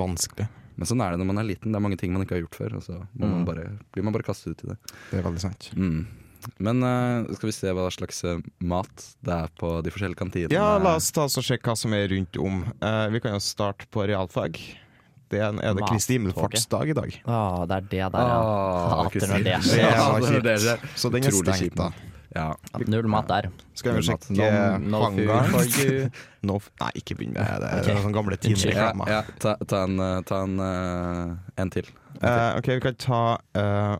Speaker 6: Vanskelig.
Speaker 2: Men sånn er det når man er liten. Det er mange ting man ikke har gjort før. Og så må
Speaker 7: Mm.
Speaker 2: man bare, blir man bare kastet ut i det.
Speaker 6: Det er veldig sant.
Speaker 2: Men eh, skal vi se hva slags eh, mat det er på de forskjellige kantinene.
Speaker 6: Ja, la oss ta oss og sjekke hva som er rundt om. Eh, vi kan jo starte på realfag. Det er, en- er det Kristi himmelfartsdag i dag.
Speaker 7: Å, det er det der, ja.
Speaker 2: Ah,
Speaker 7: Hater når det
Speaker 2: Kristin.
Speaker 7: skjer.
Speaker 2: Ja, det
Speaker 6: var
Speaker 2: er det
Speaker 6: kjipt.
Speaker 2: skjer.
Speaker 6: Så den er
Speaker 2: Utrolig
Speaker 6: stengt,
Speaker 2: kjipt.
Speaker 6: da.
Speaker 2: Ja.
Speaker 7: Null mat der.
Speaker 6: Skal vi
Speaker 2: Mat.
Speaker 6: sjekke eh,
Speaker 7: No- no food
Speaker 6: hangaren?
Speaker 7: for you.
Speaker 6: No f- Nei, ikke begynn med det. Det er
Speaker 7: Ok.
Speaker 6: sånne gamle
Speaker 2: Ja,
Speaker 6: tinereklamer.
Speaker 2: ja, ta, ta en, eh, ta en, eh, en til.
Speaker 6: Eh, OK, vi kan ta eh,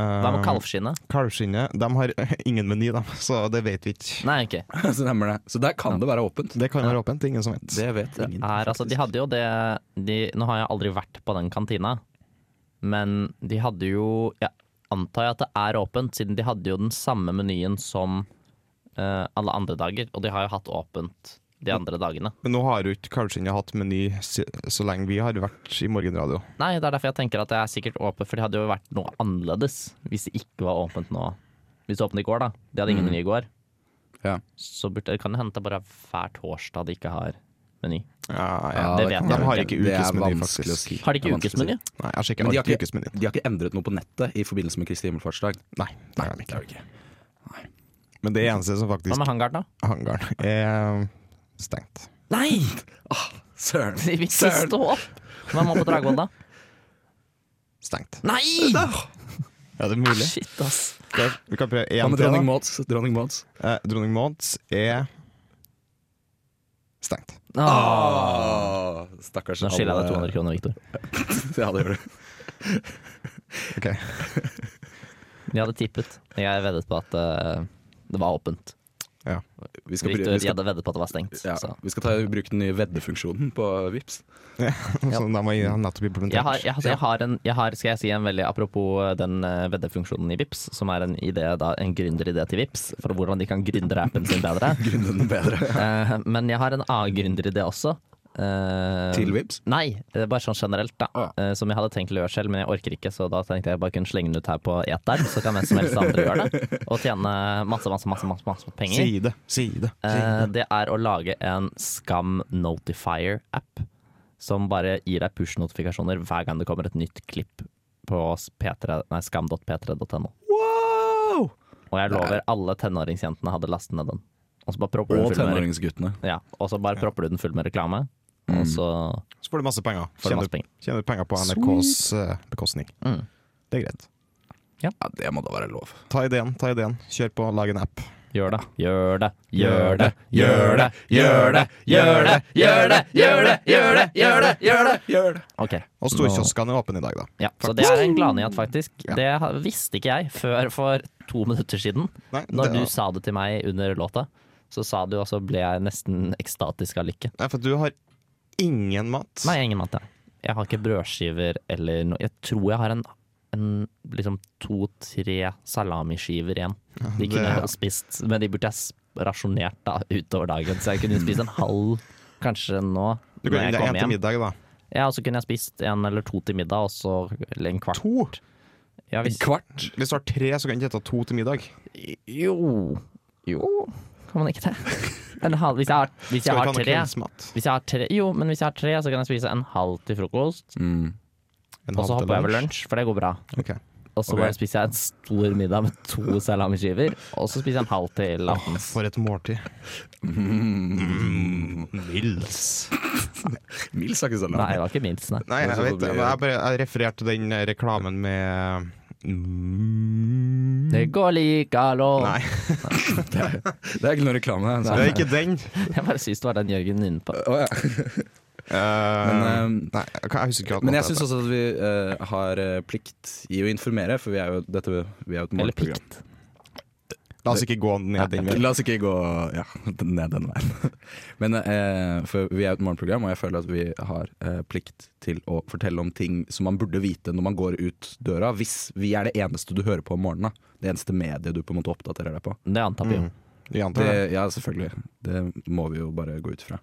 Speaker 6: eh,
Speaker 7: Hva med kalvskinnet?
Speaker 6: kalvskinnet? De har ingen meny, de, så det vet vi ikke.
Speaker 7: Nei, ikke.
Speaker 2: Så stemmer det. Så der kan det være åpent.
Speaker 6: Det kan være åpent, det er ingen som vet.
Speaker 2: Det vet ingen.
Speaker 7: Er, altså, de hadde jo det de, Nå har jeg aldri vært på den kantina, men de hadde jo Jeg antar jo at det er åpent, siden de hadde jo den samme menyen som eh, alle andre dager. Og de har jo hatt åpent de andre dagene.
Speaker 6: Men nå har jo ikke kalvskinnet hatt meny så, så lenge vi har vært i morgenradio.
Speaker 7: Nei, det er derfor jeg tenker at det er sikkert åpent, for det hadde jo vært noe annerledes hvis det ikke var åpent nå. Hvis det åpnet i går, da. De hadde ingen meny i går.
Speaker 2: Mm. Ja.
Speaker 7: Så burde, det kan det hende det bare er hver torsdag de ikke har meny.
Speaker 6: Ja,
Speaker 2: Ja,
Speaker 7: det
Speaker 2: kan
Speaker 7: vet
Speaker 2: være.
Speaker 7: jeg
Speaker 6: De har
Speaker 7: jo
Speaker 6: ikke
Speaker 2: Det er
Speaker 6: ukesmeny,
Speaker 2: vanskelig å
Speaker 6: faktisk.
Speaker 2: si.
Speaker 7: Har de
Speaker 2: Det er
Speaker 7: ikke
Speaker 2: vanskelig å si.
Speaker 7: ukesmeny?
Speaker 6: Nei, jeg sjekker
Speaker 2: Men de har,
Speaker 6: alltid
Speaker 2: ikke,
Speaker 6: ukesmenyen.
Speaker 2: de har ikke endret noe på nettet i forbindelse med Kristi himmelfartsdag.
Speaker 6: Nei, det er de
Speaker 2: Det
Speaker 6: ikke.
Speaker 2: er det ikke.
Speaker 6: Men det eneste som
Speaker 7: Hva
Speaker 6: faktisk
Speaker 7: med hangaren, da?
Speaker 6: hangaren er stengt.
Speaker 7: Nei!
Speaker 2: Søren!
Speaker 7: De vil ikke stå opp! Hva må på Dragvoll, da?
Speaker 6: Stengt.
Speaker 7: Nei!
Speaker 6: Ja, det er mulig.
Speaker 7: Shit, ass.
Speaker 6: Det er, vi kan prøve
Speaker 2: Hva
Speaker 6: én
Speaker 2: med
Speaker 6: til.
Speaker 2: dronning
Speaker 6: da.
Speaker 2: Mauds? Dronning Mauds?
Speaker 6: Eh, Dronning Mauds er stengt.
Speaker 2: Ah, stakkars
Speaker 7: Nå skylder jeg deg
Speaker 2: alle-
Speaker 7: 200 kroner, Victor.
Speaker 2: Ja, det gjør du.
Speaker 6: Ok.
Speaker 7: Vi hadde tippet. Jeg veddet på at eh, det var åpent.
Speaker 2: Vi skal,
Speaker 7: Victor
Speaker 2: vi skal,
Speaker 7: hadde veddet på at det var stengt.
Speaker 2: ja,
Speaker 7: Så.
Speaker 2: vi skal ta, bruke den nye veddefunksjonen på Vips
Speaker 6: Så de har nettopp implementert.
Speaker 7: Jeg har, jeg, altså, jeg har en, jeg har, skal jeg si en veldig apropos den eh, veddefunksjonen i Vips, som er en, idé, da, en gründeridé til Vips for hvordan de kan gründere appen sin bedre.
Speaker 2: Grunnen den bedre.
Speaker 7: Eh, men jeg har en annen gründeridé også. Eh,
Speaker 2: Til Vips
Speaker 7: Nei, det er bare sånn generelt, da.
Speaker 2: Ah.
Speaker 7: Eh, Som jeg hadde tenkt å gjøre selv, men jeg orker ikke, så da tenkte jeg bare kunne slenge den ut her på eteren, så kan hvem som helst andre gjøre det. Og tjene masse, masse, masse, masse, masse penger.
Speaker 6: Si det, si det.
Speaker 7: Eh, Det er å lage en Skam Notifier-app som bare gir deg push-notifikasjoner hver gang det kommer et nytt klipp på p3 nei, skam.p3.no.
Speaker 2: Wow!
Speaker 7: Og jeg lover, alle tenåringsjentene hadde lastet ned den. Og så bare propper du
Speaker 2: Og
Speaker 7: den full med,
Speaker 2: tenåringsguttene.
Speaker 7: ja, og så bare propper du den full med reklame, og så
Speaker 6: Så får du masse penger.
Speaker 7: får du
Speaker 6: Tjener,
Speaker 7: masse penger.
Speaker 6: tjener penger på NRKs eh, bekostning.
Speaker 7: Mm.
Speaker 6: Det er greit.
Speaker 2: Ja, det må da være lov.
Speaker 6: Ta ideen, ta ideen. Kjør på, lag en app.
Speaker 7: Gjør det, gjør det, gjør det, gjør det, gjør det, gjør det, gjør det, gjør det, gjør det, gjør det, gjør det!
Speaker 2: Gjør det!
Speaker 7: Ok.
Speaker 6: Og storkioskene er åpne i dag, da.
Speaker 7: Ja, så
Speaker 6: Faktisk.
Speaker 7: det er en gladnyhet, faktisk.
Speaker 6: Ja.
Speaker 7: Det ha- visste ikke jeg før for to minutter siden.
Speaker 6: Nei,
Speaker 7: Når
Speaker 6: det-
Speaker 7: du sa det til meg under låta, Så sa du, og så ble jeg nesten ekstatisk av lykke.
Speaker 6: Nei, for du har ingen mat.
Speaker 7: Nei, jeg har ingen mat, jeg. Jeg har ikke brødskiver eller noe. Jeg tror jeg har en, en liksom to-tre salamiskiver igjen. De kunne jeg ha spist, men de burde jeg s- rasjonert da, utover dagen. Så jeg kunne spist en halv kanskje nå,
Speaker 6: Du
Speaker 7: når jeg
Speaker 6: kan, det er en
Speaker 7: kommer
Speaker 6: til
Speaker 7: hjem.
Speaker 6: middag, da.
Speaker 7: Ja, og så kunne jeg spist en eller to til middag, og så eller en kvart.
Speaker 6: To?
Speaker 7: Ja, hvis,
Speaker 2: Kvart?
Speaker 6: Hvis du har tre, så kan du ikke ta to til middag.
Speaker 7: jo Jo, kan man ikke det? En halv, hvis jeg har, hvis jeg
Speaker 6: Skal
Speaker 7: har
Speaker 6: du ikke
Speaker 7: tre
Speaker 6: ha noe kveldsmat?
Speaker 7: hvis jeg har tre, jo, men hvis jeg har tre, så kan jeg spise en halv til frokost.
Speaker 6: En
Speaker 7: Og så
Speaker 6: Mm, halv til
Speaker 7: hopper jeg over lunsj, for det går bra.
Speaker 6: Ok.
Speaker 7: Og så
Speaker 2: Ok.
Speaker 7: bare spiser jeg en stor middag med to salamiskiver, og så spiser jeg en halv til. aften.
Speaker 6: For et måltid. Mils.
Speaker 2: Mils har ikke salami.
Speaker 7: Mm. Nei, det var ikke minst, nei.
Speaker 6: Nei, jeg
Speaker 2: Altså,
Speaker 6: vet
Speaker 2: det
Speaker 6: det.
Speaker 2: blir-
Speaker 6: men Jeg, bare, jeg refererte den eh, reklamen med Mm.
Speaker 7: Det går likalo.
Speaker 6: Nei,
Speaker 2: Det er ikke noe reklame.
Speaker 6: det er ikke den.
Speaker 7: Jeg bare syns det var den Jørgen inne på.
Speaker 2: Å, ja.
Speaker 6: Eh,
Speaker 2: Men, eh,
Speaker 6: nei, jeg kan- jeg husker ikke hva
Speaker 2: Men jeg
Speaker 6: det
Speaker 2: syns
Speaker 6: heter.
Speaker 2: også at vi eh, har eh, plikt i å informere, for vi er jo, dette, vi er jo et
Speaker 7: Eller
Speaker 2: morgenprogram.
Speaker 7: pikt.
Speaker 6: La oss ikke gå ned den veien.
Speaker 2: La oss ikke gå ja, ned den veien. Men eh, for vi er jo et morgenprogram, og jeg føler at vi har eh, plikt til å fortelle om ting som man burde vite når man går ut døra, hvis vi er det eneste du hører på om morgenen. da. Det eneste mediet du på en måte oppdaterer deg på.
Speaker 7: Det antar
Speaker 6: Mm.
Speaker 7: vi jo.
Speaker 6: Vi antar
Speaker 2: Det,
Speaker 6: det.
Speaker 2: ja, selvfølgelig. Det må vi jo bare gå ut fra.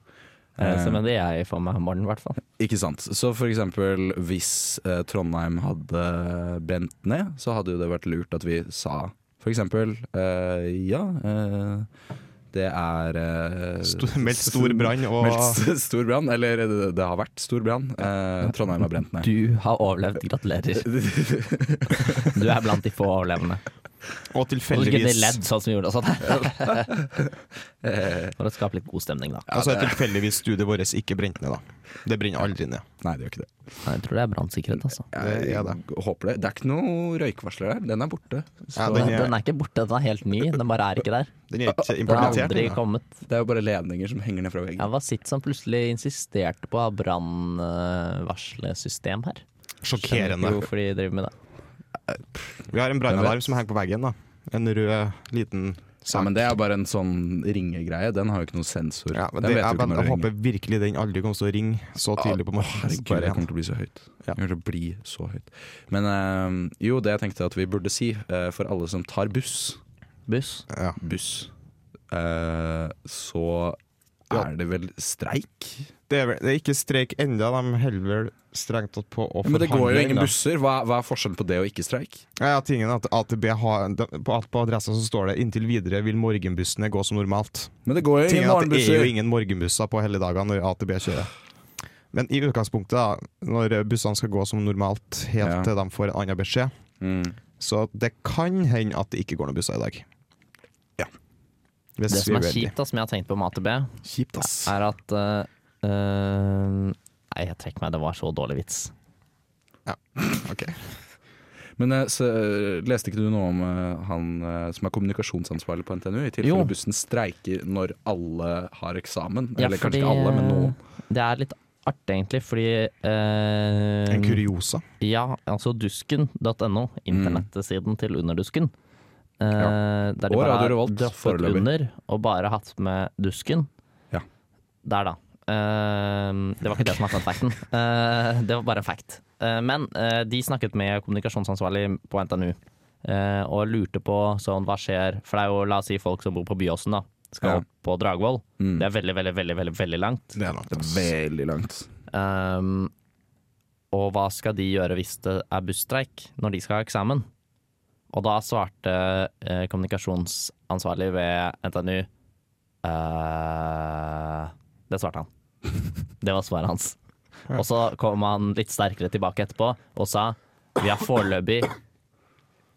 Speaker 7: Eh,
Speaker 6: Mm.
Speaker 7: Så men det er jeg får meg om morgenen, i hvert fall.
Speaker 2: Ikke sant. Så for eksempel hvis eh, Trondheim hadde brent ned, så hadde jo det vært lurt at vi sa for eksempel eh, ja, eh, det er eh,
Speaker 6: Sto- meldt stor brann og-
Speaker 2: Meldt s- stor brann, eller det, det har vært stor brann. Eh, Trondheim har brent ned.
Speaker 7: Du har overlevd, gratulerer. Du er blant de få overlevende.
Speaker 6: Og
Speaker 7: Og så kunne de ledd
Speaker 6: tilfeldigvis
Speaker 7: sånn som vi gjorde og sånn. For å skape litt god stemning, da.
Speaker 6: Altså tilfeldigvis studiet vårt ikke brent ned, da. Det brenner aldri ned.
Speaker 2: Nei, det gjør ikke det.
Speaker 7: Jeg tror det er brannsikkerhet, altså.
Speaker 2: Jeg,
Speaker 6: Det er det.
Speaker 2: håper det. Det er ikke noe røykvarsler der. Den er borte. Så
Speaker 6: Ja,
Speaker 7: Den
Speaker 6: den, er,
Speaker 7: er ikke borte, den er helt ny. Den bare er ikke der.
Speaker 6: den er ikke
Speaker 7: Den har
Speaker 6: implementert.
Speaker 7: aldri
Speaker 6: den, da.
Speaker 7: kommet.
Speaker 2: det er jo bare ledninger som henger ned fra veggen.
Speaker 7: Ja, hva sitt som plutselig insisterte på å ha brannvarslesystem her? Skjønner ikke
Speaker 6: Sjokkerende.
Speaker 7: hvorfor de driver med det.
Speaker 6: Vi har en brannalarm som henger på veggen. da En rød liten
Speaker 2: Ja,
Speaker 6: sak.
Speaker 2: men det er bare en sånn ringegreie. Den har jo ikke noen sensor.
Speaker 6: Ja, men
Speaker 2: Den
Speaker 6: det,
Speaker 2: vet jo
Speaker 6: jeg,
Speaker 2: ikke når
Speaker 6: men,
Speaker 2: det
Speaker 6: jeg
Speaker 2: ringer.
Speaker 6: håper virkelig den aldri kommer til å ringe så tidlig på morgenen.
Speaker 2: Herregud,
Speaker 6: Bare
Speaker 2: jeg
Speaker 6: igjen.
Speaker 2: kommer til å bli så høyt.
Speaker 6: Ja.
Speaker 2: Jeg kommer til å bli så høyt. Men eh, jo, det jeg tenkte at vi burde si eh, for alle som tar buss,
Speaker 7: Buss.
Speaker 6: Ja.
Speaker 2: buss eh, så
Speaker 6: Ja.
Speaker 2: er det vel streik?
Speaker 6: Det, er, vel- det er ikke streik enda, de holder vel strengt tatt på å
Speaker 2: Men det går jo
Speaker 6: forhandle
Speaker 2: ingen
Speaker 6: ennå.
Speaker 2: busser. Hva, hva er forskjellen på det og ikke streik?
Speaker 6: Ja, ja, tingen er at AtB har, de, på, at på adressa så står det 'inntil videre vil morgenbussene gå som normalt'.
Speaker 2: Men det går jo
Speaker 6: Tingen
Speaker 2: ingen
Speaker 6: er at det er
Speaker 2: morgenbusser.
Speaker 6: jo ingen morgenbusser på helligdager når AtB kjører. Men i utgangspunktet, da, når bussene skal gå som normalt helt
Speaker 2: Ja.
Speaker 6: til de får en annen beskjed,
Speaker 2: Mm.
Speaker 6: så det kan hende at det ikke går noen busser i dag.
Speaker 2: Ja.
Speaker 6: Hvis
Speaker 7: Det
Speaker 6: vi
Speaker 7: som er
Speaker 6: uheldige.
Speaker 7: kjipt, da, som jeg har tenkt på med AtB,
Speaker 2: Kjipt, ass.
Speaker 7: er at eh, eh, Nei, jeg trekker meg, det var så dårlig vits.
Speaker 6: Ok.
Speaker 2: Men eh, så, eh, leste ikke du noe om eh, han eh, som er kommunikasjonsansvarlig på NTNU? I
Speaker 7: Jo.
Speaker 2: tilfelle bussen streiker når alle har eksamen.
Speaker 7: Ja,
Speaker 2: Eller
Speaker 7: fordi,
Speaker 2: kanskje
Speaker 7: eh,
Speaker 2: ikke alle, men noen.
Speaker 7: Det er litt artig, egentlig, fordi eh,
Speaker 6: En kuriosa.
Speaker 7: Ja, altså dusken.no, internettesiden til Underdusken. Eh, Der de
Speaker 2: Og
Speaker 7: bare
Speaker 2: Radio
Speaker 7: har
Speaker 2: Revolt,
Speaker 7: droppet
Speaker 2: foreløpig.
Speaker 7: under og bare hatt med dusken.
Speaker 2: Ja.
Speaker 7: Der, da. Eh, det var ikke det som var fun facten. Eh, det var bare en fact. Eh, men eh, de snakket med kommunikasjonsansvarlig på NTNU eh, og lurte på sånn, hva skjer For det er jo, la oss si, folk som bor på Byåsen, da. Skal
Speaker 2: Ja. Mm.
Speaker 7: opp på Dragvoll. Det er veldig, veldig, veldig, veldig, veldig langt.
Speaker 6: Det er langt. ass.
Speaker 2: Veldig langt.
Speaker 7: Um, og hva skal de gjøre hvis det er busstreik når de skal ha eksamen? Og da svarte eh, kommunikasjonsansvarlig ved NTNU eh, Det svarte han. Det var svaret hans. Og så kom han litt sterkere tilbake etterpå og sa vi har foreløpig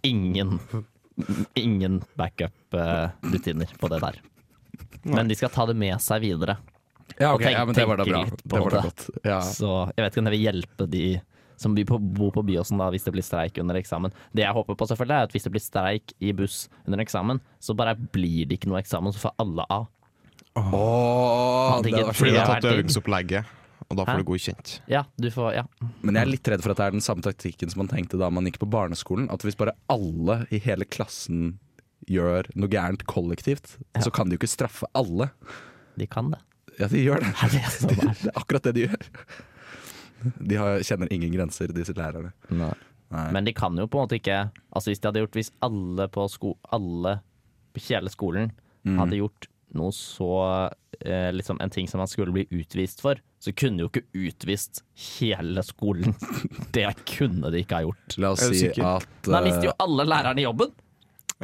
Speaker 7: ingen Ingen backup-rutiner på det der. Men de skal ta det med seg videre.
Speaker 2: Ja,
Speaker 7: Og
Speaker 2: ok,
Speaker 7: tenk-
Speaker 2: ja, men det var da
Speaker 7: tenke
Speaker 2: bra.
Speaker 7: litt på
Speaker 2: Det var da
Speaker 7: det.
Speaker 2: godt. Ja.
Speaker 7: Så jeg vet ikke om det vil hjelpe de som bor på, bor på Byåsen da, hvis det blir streik under eksamen. Det jeg håper på selvfølgelig er at hvis det blir streik i buss under eksamen, så bare blir det ikke noe eksamen, så får alle av.
Speaker 2: Åh,
Speaker 7: Hadde
Speaker 2: det
Speaker 7: ikke
Speaker 2: var
Speaker 6: Fordi du har
Speaker 7: Ja,
Speaker 6: tatt
Speaker 7: det-
Speaker 6: øvingsopplegget, og da
Speaker 7: Hæ?
Speaker 6: får du godkjent.
Speaker 7: Ja, du får, ja.
Speaker 2: Men jeg er litt redd for at det er den samme taktikken som man tenkte da man gikk på barneskolen. At hvis bare alle i hele klassen gjør noe gærent kollektivt, så kan de jo ikke straffe alle.
Speaker 7: De kan det.
Speaker 2: Ja, de gjør det.
Speaker 7: det er sånn det er.
Speaker 2: Det er akkurat det de gjør. De har, kjenner ingen grenser, disse lærerne. Nei.
Speaker 7: Men de kan jo på en måte ikke Altså Hvis de hadde gjort Hvis alle på, sko, alle på hele skolen hadde gjort noe så eh, liksom En ting som man skulle bli utvist for, så kunne de jo ikke utvist hele skolen. Det kunne de ikke ha gjort.
Speaker 2: La oss
Speaker 6: Er du
Speaker 2: si
Speaker 6: sikker?
Speaker 2: at
Speaker 7: Da
Speaker 2: eh,
Speaker 7: mister jo alle lærerne jobben!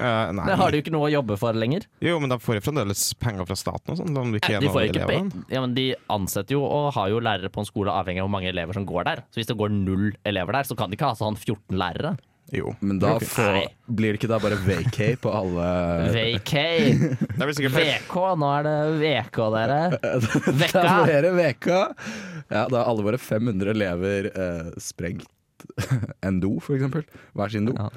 Speaker 6: Eh, nei.
Speaker 7: Det har de jo ikke noe å jobbe for lenger.
Speaker 6: Jo, men de får jo fremdeles penger fra staten og sånn. De, vil ikke
Speaker 7: De
Speaker 6: gjennom
Speaker 7: får jo ikke
Speaker 6: elevene.
Speaker 7: pay- ja, men de ansetter jo og har jo lærere på en skole avhengig av hvor mange elever som går der. Så hvis det går null elever der, så kan de ikke ha sånn 14 lærere.
Speaker 6: Jo.
Speaker 2: Men da
Speaker 6: Ok.
Speaker 2: får,
Speaker 7: Nei.
Speaker 2: blir det ikke da bare vacay på alle
Speaker 7: VK!
Speaker 6: Det blir sikkert pay-
Speaker 7: VK, nå er det VK, dere.
Speaker 2: Det
Speaker 7: Vekka!
Speaker 2: er flere veka. Ja, da er alle våre 500 elever eh, sprengt en do, for eksempel. Hver sin do.
Speaker 7: Ja.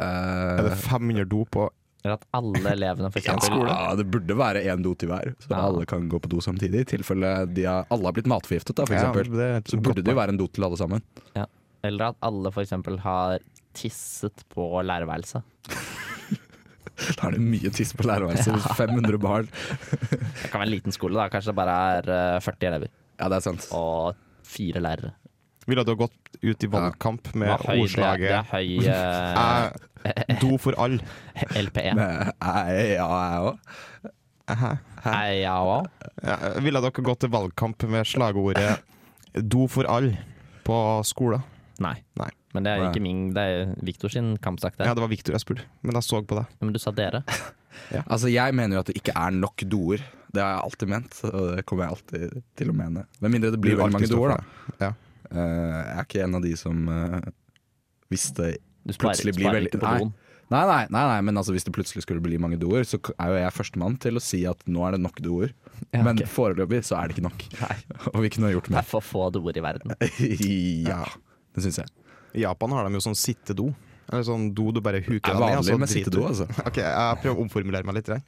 Speaker 2: Eh,
Speaker 6: Er det 500 do på
Speaker 7: Eller at alle elevene for
Speaker 2: ja,
Speaker 7: eksempel
Speaker 2: Ja, det burde være én do til hver, så
Speaker 7: Ja.
Speaker 2: alle kan gå på do samtidig. I tilfelle de har, alle har blitt matforgiftet, da, for
Speaker 6: Ja,
Speaker 2: eksempel.
Speaker 6: det er et
Speaker 2: så
Speaker 6: godt
Speaker 2: burde det
Speaker 6: poeng.
Speaker 2: jo være en do til alle sammen.
Speaker 7: ja. Eller at alle for eksempel har tisset på lærerværelset.
Speaker 2: Da er det mye tiss på lærerværelset. 500 barn.
Speaker 7: Det kan være en liten skole, da. Kanskje det bare er eh, 40 elever
Speaker 2: Ja, det er sant.
Speaker 7: og fire lærere.
Speaker 6: Ville du ha gått ut i valgkamp med
Speaker 7: Det er høy, det er, det er
Speaker 6: ordslaget
Speaker 7: høy eh, E.
Speaker 6: eh, Do for all.
Speaker 7: LPE.
Speaker 2: Eh, jeg- Ja, jeg òg.
Speaker 7: Nei, ja, hva?
Speaker 6: Ja, ville dere gått til valgkamp med slagordet 'Do for all' på skolen?
Speaker 7: Nei.
Speaker 6: Nei.
Speaker 7: Men det er jo
Speaker 2: Nei.
Speaker 7: ikke min, det er Viktor sin kampsak
Speaker 6: Ja,
Speaker 7: der.
Speaker 6: det var Victor jeg spurte, men jeg så på deg.
Speaker 7: Men du sa dere.
Speaker 2: Altså, jeg mener jo at det ikke er nok doer. Det har jeg alltid ment, og det kommer jeg alltid til å mene. Med mindre det blir
Speaker 6: Du vil
Speaker 2: veldig mange
Speaker 6: alltid stå for
Speaker 2: doer, da.
Speaker 6: det. Ja.
Speaker 2: Eh, jeg er ikke en av de som eh, hvis det
Speaker 7: Du sparer,
Speaker 2: plutselig blir
Speaker 7: sparer
Speaker 2: veldig
Speaker 7: ikke på
Speaker 2: nei.
Speaker 7: doen.
Speaker 2: Nei, nei, nei, nei, men altså hvis det plutselig skulle bli mange doer, så er jo jeg førstemann til å si at nå er det nok doer.
Speaker 7: Ja,
Speaker 2: Men
Speaker 7: ok.
Speaker 2: foreløpig så er det ikke nok. Og vi kunne ha gjort
Speaker 7: Det
Speaker 2: mer.
Speaker 7: er for få doer i verden.
Speaker 2: ja, det syns jeg.
Speaker 6: I Japan har de jo sånn sittedo. Eller sånn do du bare huker
Speaker 2: Det er
Speaker 6: deg ned, og så
Speaker 2: vanlig med
Speaker 6: driter
Speaker 2: sittedo,
Speaker 6: du.
Speaker 2: altså.
Speaker 6: Ok, jeg prøver å omformulere meg litt. der.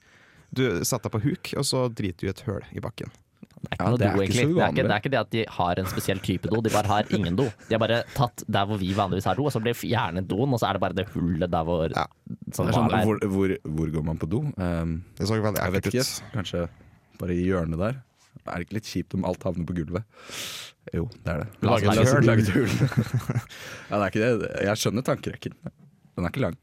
Speaker 6: Du setter deg på huk, og så driter du i et høl i bakken.
Speaker 7: Det er
Speaker 2: Ja,
Speaker 7: ikke noe
Speaker 2: det er
Speaker 7: do,
Speaker 2: ikke så
Speaker 7: egentlig. Det er ikke,
Speaker 2: uvanlig.
Speaker 7: det er ikke det at de har en spesiell type do, de bare har ingen do. De har bare tatt der hvor vi vanligvis har do, og så blir fjernet doen, og så er det bare det hullet der hvor
Speaker 6: Ja.
Speaker 7: som
Speaker 2: Det er sånn,
Speaker 7: vanlig er.
Speaker 2: hvor, hvor, hvor går man på do? Um,
Speaker 6: Det så veldig
Speaker 2: jeg vet
Speaker 6: ekkelt
Speaker 2: ikke.
Speaker 6: ut.
Speaker 2: Kanskje bare i hjørnet der. Er det ikke litt kjipt om alt havner på gulvet? Jo, det er det.
Speaker 7: La oss lage
Speaker 2: La oss
Speaker 7: hull.
Speaker 2: lage et hull. ja, det er ikke det. Jeg skjønner tankerekken. Den er ikke lang.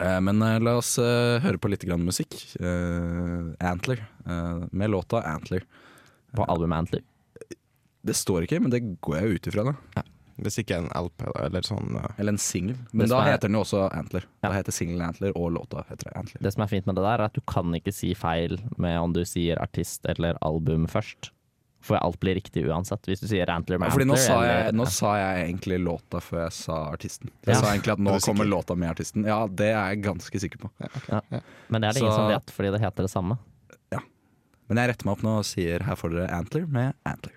Speaker 2: Eh, Men eh, la oss eh, høre på litt grann musikk. Eh, Antler, eh, med låta Antler.
Speaker 7: På albumet Antler.
Speaker 2: Det står ikke, men det går jeg ut ifra. da.
Speaker 6: Hvis ikke en LP eller sånn eh,
Speaker 2: Eller en singel. Men
Speaker 7: Det
Speaker 2: da
Speaker 7: som er-
Speaker 2: heter den jo også Antler.
Speaker 7: Ja.
Speaker 2: Da heter singelen Antler, og låta heter Antler.
Speaker 7: Det som er fint med det der, er at du kan ikke si feil med om du sier artist eller album først. For alt blir riktig uansett. Hvis du sier Antler med
Speaker 2: Fordi nå
Speaker 7: Antler
Speaker 2: sa, jeg,
Speaker 7: eller-
Speaker 2: nå sa jeg egentlig låta før jeg sa artisten. Jeg
Speaker 7: Ja.
Speaker 2: sa egentlig at nå
Speaker 6: Er du
Speaker 2: kommer
Speaker 6: sikker?
Speaker 2: låta med artisten. Ja, det er jeg ganske sikker på.
Speaker 7: ja. Men det er det ingen
Speaker 2: Så-
Speaker 7: som vet, fordi det heter det samme.
Speaker 2: Men jeg retter meg opp nå og sier her får dere Antler med Antler.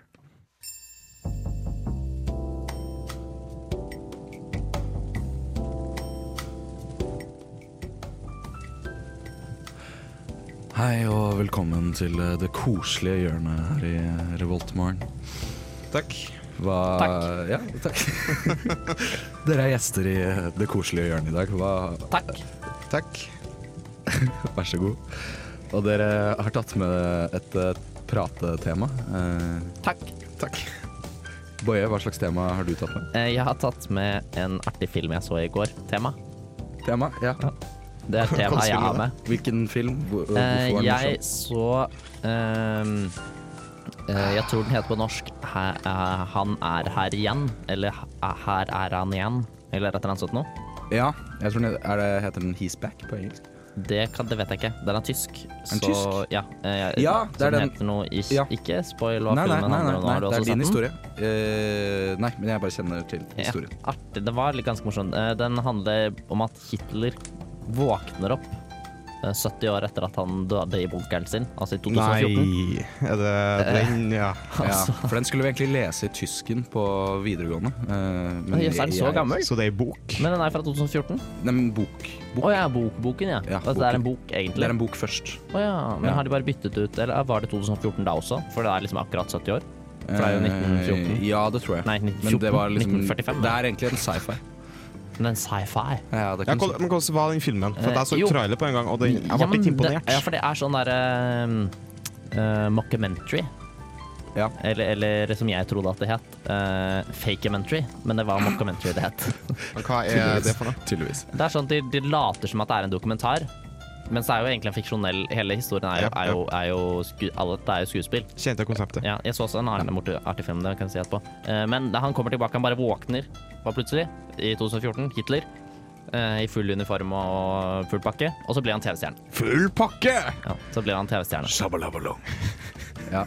Speaker 2: Hei og velkommen til eh, det koselige hjørnet her i eh, Revoltmorgen.
Speaker 6: Takk.
Speaker 2: Hva, takk. Ja, takk. Dere er gjester i eh, det koselige hjørnet i dag. Hva,
Speaker 7: Takk!
Speaker 6: Takk.
Speaker 2: vær så god. Og dere har tatt med et eh, pratetema. Eh,
Speaker 7: Takk!
Speaker 2: takk. Boje, hva slags tema har du tatt med?
Speaker 7: Eh, Jeg har tatt med en artig film jeg så i går. Tema.
Speaker 2: Tema, ja.
Speaker 7: Det er temaet jeg har med.
Speaker 2: Hvilken film? Hvor- Hvorfor
Speaker 7: Eh,
Speaker 2: var den
Speaker 7: jeg
Speaker 2: morsom?
Speaker 7: så ehm, eh, Jeg tror den heter på norsk her, eh, 'Han er her igjen', eller eh, 'Her er han igjen', eller et eller annet sånt noe.
Speaker 2: Ja, jeg tror den heter- er det, heter den He's Back på engelsk?
Speaker 7: Det, kan, det vet jeg ikke. Den er tysk.
Speaker 2: den tysk?
Speaker 7: Ja, eh,
Speaker 2: Ja,
Speaker 7: så
Speaker 2: det er den.
Speaker 7: heter noe ikke,
Speaker 2: Ja.
Speaker 7: ikke spoil hva filmen handler om. nå, Har du
Speaker 2: det er din
Speaker 7: også sett den?
Speaker 2: historie. Eh, nei, men jeg bare kjenner til historien.
Speaker 7: Ja, artig. Det var litt ganske morsomt. Eh, Den handler om at Hitler våkner opp eh, 70 år etter at han døde i bunkeren sin, altså i 2014.
Speaker 6: Nei Er det
Speaker 7: Eh.
Speaker 6: den, ja.
Speaker 2: Ja,
Speaker 7: Altså.
Speaker 2: for den skulle vi egentlig lese i tysken på videregående. eh, men
Speaker 7: Jøss, er den så
Speaker 2: jeg-
Speaker 7: gammel?
Speaker 6: Så det er ei bok?
Speaker 7: Men den er fra 2014.
Speaker 2: Nei, men bok.
Speaker 7: Å ja, bokboken, ja.
Speaker 2: Ja,
Speaker 7: At det er en
Speaker 2: boken.
Speaker 7: bok,
Speaker 2: Det
Speaker 7: egentlig.
Speaker 2: er en bok først.
Speaker 7: Å ja, men
Speaker 2: Ja.
Speaker 7: har de bare byttet ut Eller var det 2014 da også? For det er liksom akkurat 70 år. For det er jo 1914.
Speaker 2: Eh, Ja, det tror jeg.
Speaker 7: Nei, 1914.
Speaker 2: Men det var liksom,
Speaker 7: 1945,
Speaker 2: Det
Speaker 7: ja.
Speaker 2: er egentlig en sci-fi.
Speaker 7: Men sci-fi
Speaker 2: Ja, det
Speaker 6: Ja,
Speaker 2: kan
Speaker 6: hva- men hvordan var den filmen? For
Speaker 7: Eh,
Speaker 6: Jeg så
Speaker 7: jo.
Speaker 6: trailer på en gang, og den, jeg ble
Speaker 7: Ja, men
Speaker 6: ikke
Speaker 7: Det, ja,
Speaker 6: imponert.
Speaker 7: for det er sånn derre uh, mockumentary.
Speaker 2: Ja.
Speaker 7: Eller, eller som jeg trodde at det het. Uh, fakementary, men det var mockumentary det het.
Speaker 6: Men Hva er det for noe?
Speaker 2: Tydeligvis.
Speaker 7: Det er sånn at de, de later som at det er en dokumentar, men så er jo egentlig en fiksjonell Hele historien er jo,
Speaker 6: Ja,
Speaker 7: er jo, er jo, sku, alle, det er jo skuespill.
Speaker 6: Kjente jeg konseptet?
Speaker 7: Ja, jeg så også en annen borti- artig film, det kan jeg si etterpå. Eh, men da han kommer tilbake, han bare våkner bare plutselig, i 2014. Hitler. eh, I full uniform og full pakke. Og så blir han TV-stjerne.
Speaker 6: Full pakke!
Speaker 7: Ja, så blir han TV-stjerne.
Speaker 2: Ja.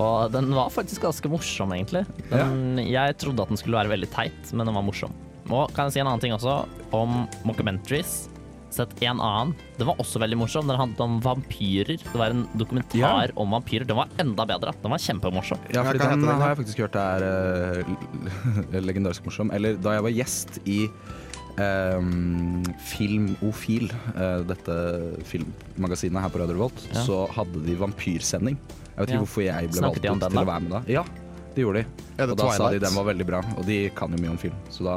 Speaker 7: Og den var faktisk ganske morsom, egentlig. Den, Jeg trodde at den skulle være veldig teit, men den var morsom. Og kan jeg si en annen ting også, om mockumentaries. Sett en annen. Den var også veldig morsom. Den handlet om vampyrer. Det var en dokumentar om vampyrer. Den var enda bedre. Den var kjempemorsom.
Speaker 2: Ja, fordi
Speaker 6: hva heter
Speaker 2: den
Speaker 6: den da?
Speaker 2: har jeg faktisk hørt er eh, l- l- legendarisk morsom. Eller da jeg var gjest i um, Filmofil, eh, dette filmmagasinet her på Radio Revolt,
Speaker 7: Ja.
Speaker 2: så hadde de vampyrsending. Jeg vet ikke
Speaker 7: Ja.
Speaker 2: hvorfor jeg ble
Speaker 7: Snakket de om
Speaker 2: valgt ut
Speaker 7: den
Speaker 2: til å
Speaker 7: da?
Speaker 2: være med da. Ja, det gjorde de.
Speaker 6: Er det
Speaker 2: Og da sa de
Speaker 6: Twilight?
Speaker 2: den var veldig bra, og de kan jo mye om film. Så da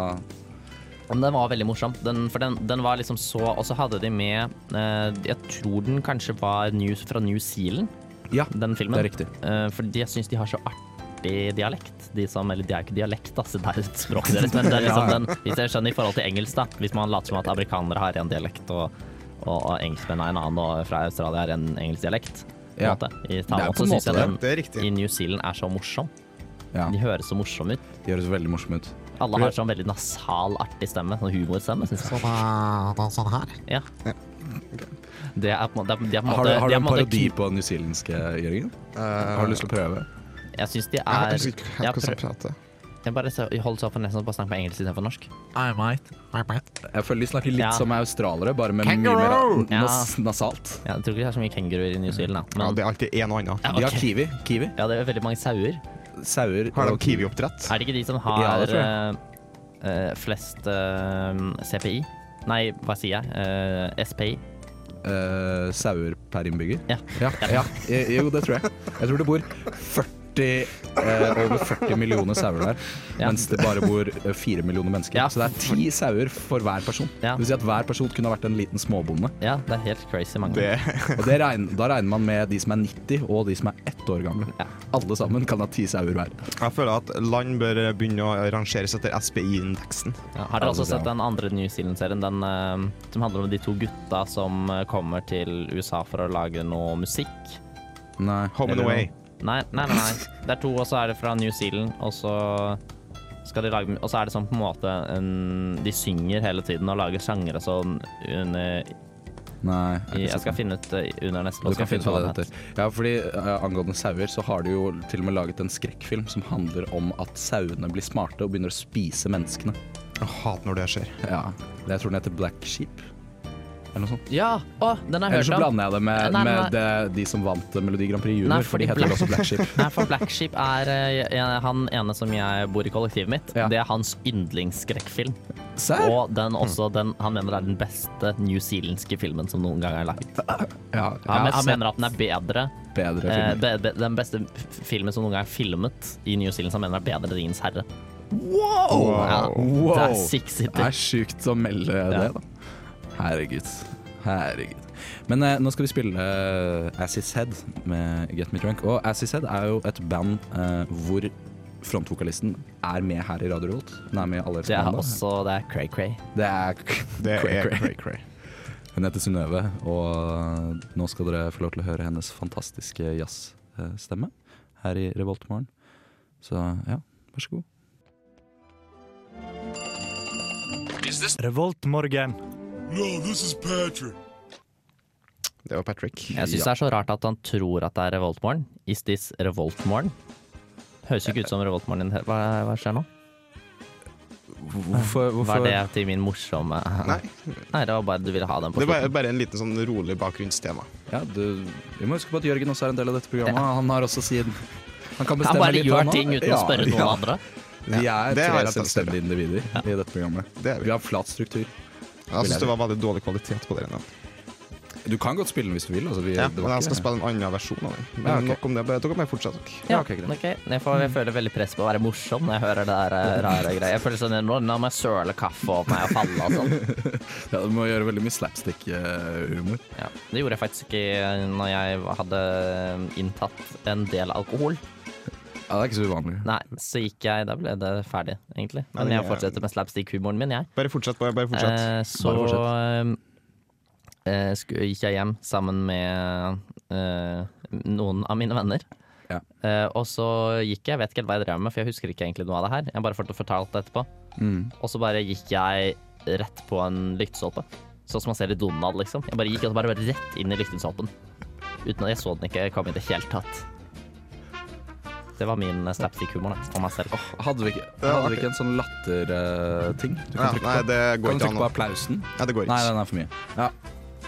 Speaker 7: Men den var veldig morsom. Den, for den, den var liksom så Og så hadde de med eh, Jeg tror den kanskje var New, fra New Zealand,
Speaker 2: Ja,
Speaker 7: den filmen.
Speaker 2: det er riktig.
Speaker 7: Eh, fordi jeg syns de har så artig dialekt. De som, eller det er ikke dialekt, da, så det er språket deres. Men det er liksom den, hvis jeg skjønner i forhold til engelsk, da. Hvis man later som at amerikanere har en dialekt, og, og, og engelskmenn har en annen, og fra Australia har en engelsk dialekt. på en
Speaker 2: Ja.
Speaker 7: måte,
Speaker 2: Det
Speaker 7: I
Speaker 2: er
Speaker 7: talen,
Speaker 2: på
Speaker 7: så
Speaker 2: en
Speaker 7: syns jeg
Speaker 2: måte
Speaker 7: den
Speaker 6: Det er riktig.
Speaker 7: i New Zealand er så morsom.
Speaker 2: Ja,
Speaker 7: De høres så morsomme ut.
Speaker 2: de høres veldig morsomme ut.
Speaker 7: Alle har sånn veldig nasal, artig stemme. Sånn humorstemme, syns jeg.
Speaker 6: sånn her.
Speaker 7: Ja. Det er på en måte De er på en
Speaker 2: Har
Speaker 7: måte
Speaker 2: du, har
Speaker 7: de
Speaker 2: du
Speaker 7: er
Speaker 2: en
Speaker 7: på en måte
Speaker 2: parodi
Speaker 7: kn-
Speaker 2: på newzealandske, Jørgen? Har du lyst til å prøve?
Speaker 7: Jeg syns de
Speaker 6: Jeg
Speaker 7: er
Speaker 6: husker ikke
Speaker 7: Jeg
Speaker 6: helt hvordan
Speaker 7: prøv-
Speaker 6: jeg prater.
Speaker 7: Jeg bare så- jeg holder så for nesten å bare snakke på engelsk istedenfor norsk.
Speaker 2: Jeg føler de snakker litt
Speaker 7: Ja.
Speaker 2: som australere, bare med mye mer
Speaker 7: Ja.
Speaker 2: nas nasalt.
Speaker 7: Ja, jeg tror ikke det er så mye kenguruer i New Zealand, da.
Speaker 6: Ja,
Speaker 7: Men
Speaker 6: det er alltid en og annen.
Speaker 7: Ja,
Speaker 2: De har
Speaker 7: ok.
Speaker 2: kiwi. kiwi.
Speaker 7: Ja, det er veldig mange sauer.
Speaker 2: Sauer
Speaker 6: Har de
Speaker 2: og
Speaker 6: kiwioppdrett?
Speaker 7: Er det ikke de som
Speaker 2: Ja,
Speaker 7: har
Speaker 2: det tror
Speaker 7: eh, eh, flest eh, CPI? Nei, hva sier jeg? Eh, SPI?
Speaker 2: eh, sauer per innbygger?
Speaker 7: Ja.
Speaker 2: Ja, ja. Eh, Jo, det tror jeg. Jeg tror det bor 40 eh, over 40 millioner sauer der,
Speaker 7: Ja.
Speaker 2: mens det bare bor eh, 4 millioner mennesker.
Speaker 7: Ja.
Speaker 2: Så det er ti sauer for hver person.
Speaker 7: Ja.
Speaker 2: Det vil si at hver person kunne ha vært en liten småbonde.
Speaker 7: Ja, det er helt crazy mange.
Speaker 6: Det
Speaker 2: Og det regn- da regner man med de som er 90 og de som er ett år gamle.
Speaker 7: Ja.
Speaker 2: Alle sammen kan ha ti sauer hver.
Speaker 6: Jeg føler at land bør begynne å rangeres etter SPI-indeksen.
Speaker 7: Ja, har dere
Speaker 2: Ja,
Speaker 7: også
Speaker 2: det er
Speaker 7: sett
Speaker 2: bra.
Speaker 7: den andre New Zealand-serien? Den eh, som handler om de to gutta som eh, kommer til USA for å lage noe musikk?
Speaker 2: Nei.
Speaker 6: Home and
Speaker 7: Eller
Speaker 6: away.
Speaker 7: Nei, nei, nei, nei. Det er to, og så er det fra New Zealand, og så skal de lage Og så er det sånn på en måte en, De synger hele tiden og lager sanger og sånn under
Speaker 2: Nei. jeg har ikke
Speaker 7: Jeg
Speaker 2: sett
Speaker 7: skal
Speaker 2: den.
Speaker 7: finne ut eh, under neste
Speaker 2: Du
Speaker 7: låt.
Speaker 2: kan
Speaker 7: skal
Speaker 2: finne
Speaker 7: jeg
Speaker 2: ut hva
Speaker 7: finne
Speaker 2: det
Speaker 7: ut hva den
Speaker 2: heter. Ja, fordi eh, Angående sauer, så har de jo til og med laget en skrekkfilm som handler om at sauene blir smarte og begynner å spise menneskene.
Speaker 6: Jeg hater når det skjer.
Speaker 2: Ja, Jeg tror den heter Black Sheep. Eller noe sånt.
Speaker 7: heter. Ja! Å, den har
Speaker 2: Eller
Speaker 7: jeg
Speaker 2: så
Speaker 7: hørt om.
Speaker 2: blander jeg det med,
Speaker 7: Nei, nei, nei.
Speaker 2: med det, de som vant Melodi Grand Prix Junior,
Speaker 7: Nei,
Speaker 2: for de
Speaker 7: fordi
Speaker 2: heter
Speaker 7: Black-
Speaker 2: også Black Sheep.
Speaker 7: Nei, for Black Sheep er eh, jeg- han ene som jeg bor i kollektivet mitt.
Speaker 2: Ja.
Speaker 7: Det er hans yndlingsskrekkfilm.
Speaker 2: Serr?
Speaker 7: Og den også, den, han mener er den beste newzealandske filmen som noen gang er laget.
Speaker 2: Ja,
Speaker 7: Han,
Speaker 2: jeg har
Speaker 7: han
Speaker 2: sett
Speaker 7: mener at den er bedre.
Speaker 2: bedre
Speaker 7: Eh,
Speaker 2: filmer.
Speaker 7: be, be, den beste f- filmen som noen gang er filmet i New Zealand, som mener er bedre enn Ringens herre.
Speaker 2: Wow!
Speaker 7: Ja,
Speaker 2: wow.
Speaker 7: Det er Six City.
Speaker 2: Det er sjukt å melde det,
Speaker 7: Ja.
Speaker 2: da. Herregud. Herregud. Men eh, nå skal vi spille eh, Assis Head med Get Me Drunk. Og Assis Head er jo et band eh, hvor frontvokalisten er med her i Radio Revolt. Hun er med i alle
Speaker 7: Det er
Speaker 2: episodene.
Speaker 7: også det er Cray Cray.
Speaker 2: Det er
Speaker 6: Det er
Speaker 2: cray-cray.
Speaker 6: cray-cray.
Speaker 2: Hun heter Synnøve, og nå skal dere få lov til å høre hennes fantastiske jazzstemme her i Revoltmorgen. Så ja, vær så god.
Speaker 1: Revoltmorgen.
Speaker 6: Det var Patrick.
Speaker 7: Jeg syns det er så rart at han tror at det er Revoltmorgen. Is this Revoltmorgen? Høres ikke ut som Revoltmorgen. din. Hva, hva skjer nå?
Speaker 2: Hvorfor,
Speaker 7: Var det til min morsomme
Speaker 6: Nei,
Speaker 7: Nei, det var bare du ville ha den på
Speaker 6: det var
Speaker 7: slutten.
Speaker 6: bare en liten sånn rolig bakgrunnstema.
Speaker 2: Ja, du, vi må huske på at Jørgen også er en del av dette programmet. Han har også sin Han kan
Speaker 7: Han
Speaker 2: bestemme
Speaker 7: bare
Speaker 2: litt,
Speaker 7: gjør
Speaker 2: han
Speaker 7: ting
Speaker 2: også.
Speaker 7: uten å
Speaker 2: Ja,
Speaker 7: spørre noen
Speaker 2: ja.
Speaker 7: andre.
Speaker 2: Vi er
Speaker 6: Det har
Speaker 2: tre
Speaker 6: jeg tatt større.
Speaker 2: selvstendige individer i dette programmet.
Speaker 6: Det er vi.
Speaker 2: Vi har flat struktur.
Speaker 6: Jeg syns det var veldig dårlig kvalitet på det. nå.
Speaker 2: Du kan godt spille den hvis du vil. Altså, vi,
Speaker 6: Ja,
Speaker 2: det
Speaker 6: men
Speaker 2: var
Speaker 6: jeg
Speaker 2: ikke-
Speaker 6: skal spille en annen versjon av den. Men
Speaker 2: Ja, ok.
Speaker 6: nok om det. Bare- Dere må fortsette. dere.
Speaker 2: Ja, ok, greit.
Speaker 7: ok. Jeg, får, jeg føler veldig press på å være morsom når jeg hører det der eh, rare greia. Jeg føler sånn, nå nå må jeg søle kaffe opp meg og falle og sånn.
Speaker 2: Ja, du må gjøre veldig mye slapstick-humor.
Speaker 7: Ja. Det gjorde jeg faktisk ikke når jeg hadde inntatt en del alkohol.
Speaker 2: Ja, det er ikke så uvanlig.
Speaker 7: Nei, så gikk jeg, da ble det ferdig, egentlig. Men
Speaker 6: Men
Speaker 7: jeg
Speaker 6: jeg-
Speaker 7: fortsetter med slapstick-humoren min, jeg.
Speaker 6: Bare fortsett. Bare, bare fortsett.
Speaker 7: Eh, så
Speaker 2: Bare
Speaker 7: eh, sku- gikk jeg hjem sammen med eh, noen av mine venner.
Speaker 2: Ja.
Speaker 7: Eh, og så gikk jeg, jeg vet ikke helt hva jeg drev med, for jeg husker ikke egentlig noe av det her. Jeg bare følte fortalt det etterpå.
Speaker 2: Mm.
Speaker 7: Og så bare gikk jeg rett på en lyktestolpe. Sånn som man ser i Donald, liksom. Jeg bare gikk altså bare rett inn i lyktestolpen. Uten at jeg så den ikke komme i det hele tatt. Det var min eh, slapstick-humor da, om meg selv.
Speaker 2: Hadde vi ikke,
Speaker 6: Ja,
Speaker 2: hadde vi
Speaker 6: artig.
Speaker 2: ikke en sånn latterting? Uh,
Speaker 6: Ja, nei, det går
Speaker 2: kan du
Speaker 6: ikke
Speaker 2: trykke
Speaker 6: an.
Speaker 2: på
Speaker 6: å-
Speaker 2: applausen?
Speaker 6: Ja, det går
Speaker 2: Nei,
Speaker 6: ikke.
Speaker 2: den er for mye. Ja.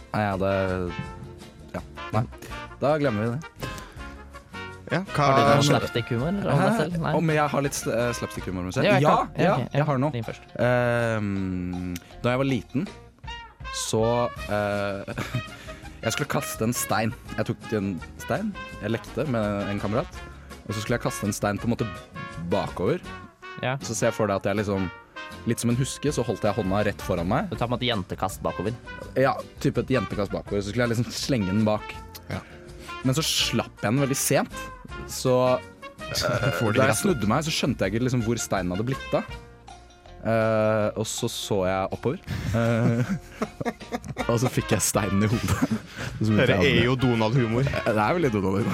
Speaker 2: Nei, jeg hadde Ja. Nei. Da glemmer vi det.
Speaker 6: Ja,
Speaker 7: Har du
Speaker 6: hva,
Speaker 7: noe slapstick-humor om deg selv? Nei.
Speaker 2: Om jeg har litt eh, slapstick-humor? om meg selv?
Speaker 7: jeg
Speaker 2: ja,
Speaker 7: kan.
Speaker 2: ja,
Speaker 7: ok,
Speaker 2: jeg har noe.
Speaker 7: Din først.
Speaker 2: Ehm, da jeg var liten, så eh, Jeg skulle kaste en stein. Jeg tok en stein, jeg lekte med en kamerat. Og så skulle jeg kaste en stein på en måte bakover.
Speaker 7: Ja.
Speaker 2: Så ser jeg for deg at jeg liksom Litt som en huske, så holdt jeg hånda rett foran meg.
Speaker 7: Du tar på en måte jentekast bakover.
Speaker 2: Ja, type et jentekast bakover. Så skulle jeg liksom slenge den bak.
Speaker 6: Ja.
Speaker 2: Men så slapp jeg den veldig sent. Så
Speaker 6: får de
Speaker 2: da jeg
Speaker 6: rett
Speaker 2: snudde meg, så skjønte jeg ikke liksom hvor steinen hadde blitt av. Eh, og så så jeg oppover. Eh, og så fikk jeg steinen i hodet. Så begynte
Speaker 6: Dette
Speaker 2: jeg å
Speaker 6: er
Speaker 2: angre.
Speaker 6: jo Donald-humor.
Speaker 2: Det er veldig dumt.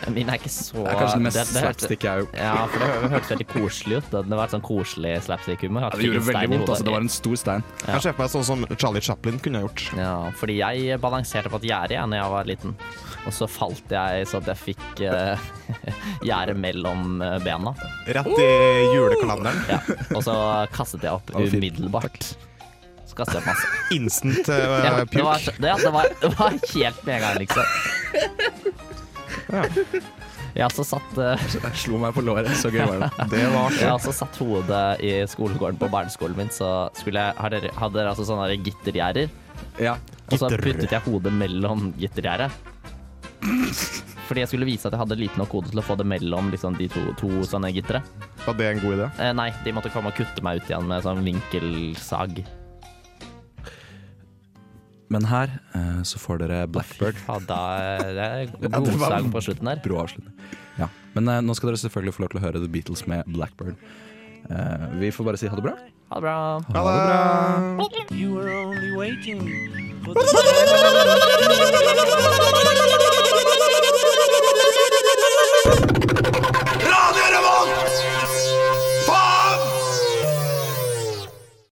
Speaker 2: Det
Speaker 7: Min er ikke så
Speaker 2: er kanskje det mest
Speaker 7: det hørte-
Speaker 2: slapstick jeg har gjort.
Speaker 7: Ja, for det hø- hørtes veldig koselig ut. Det det var et sånn koselig slapstick-humor. At
Speaker 2: Det gjorde
Speaker 7: fikk en
Speaker 2: veldig
Speaker 7: stein i
Speaker 2: vondt.
Speaker 7: hodet.
Speaker 2: Altså, det var en stor stein.
Speaker 6: Jeg ser for meg sånn som Charlie Chaplin kunne ha gjort.
Speaker 7: Ja, fordi jeg balanserte på et gjerde jeg, når jeg var liten. Og så falt jeg så at jeg fikk uh, gjerdet mellom eh, bena.
Speaker 6: Rett i julekalenderen.
Speaker 7: Ja. Og så kastet jeg opp
Speaker 2: fint.
Speaker 7: umiddelbart. Så kastet jeg opp masse.
Speaker 6: Instant eh,
Speaker 7: Ja, det, var,
Speaker 6: puke.
Speaker 7: så- det, det, var, det var helt med en gang, liksom. Jeg har altså satt eh,
Speaker 2: Jeg slo meg på låret. Så gøy var det.
Speaker 6: Det var
Speaker 7: Jeg har altså satt hodet i skolegården på barneskolen min, så skulle jeg, hadde, hadde altså sånne der gittergjerder.
Speaker 2: Ja.
Speaker 7: Og så
Speaker 6: Gitter.
Speaker 7: puttet jeg hodet mellom gittergjerdet. Fordi jeg skulle vise at jeg hadde liten nok hode til å få det mellom liksom, de to, to sånne gittere.
Speaker 6: Var det en god idé?
Speaker 7: Eh, nei, de måtte komme og kutte meg ut igjen med sånn vinkelsag.
Speaker 2: Men her eh, så får dere Blackbird.
Speaker 7: Ja, da er det
Speaker 2: Ja, det var-
Speaker 7: godsag på slutten der.
Speaker 2: Brå avslutning. Ja. Men eh, nå skal dere selvfølgelig få lov til å høre The Beatles med Blackbird. Eh, vi får bare si ha det bra.
Speaker 7: Ha det bra.
Speaker 6: Ha det!
Speaker 9: You were only waiting for the
Speaker 3: Thank you.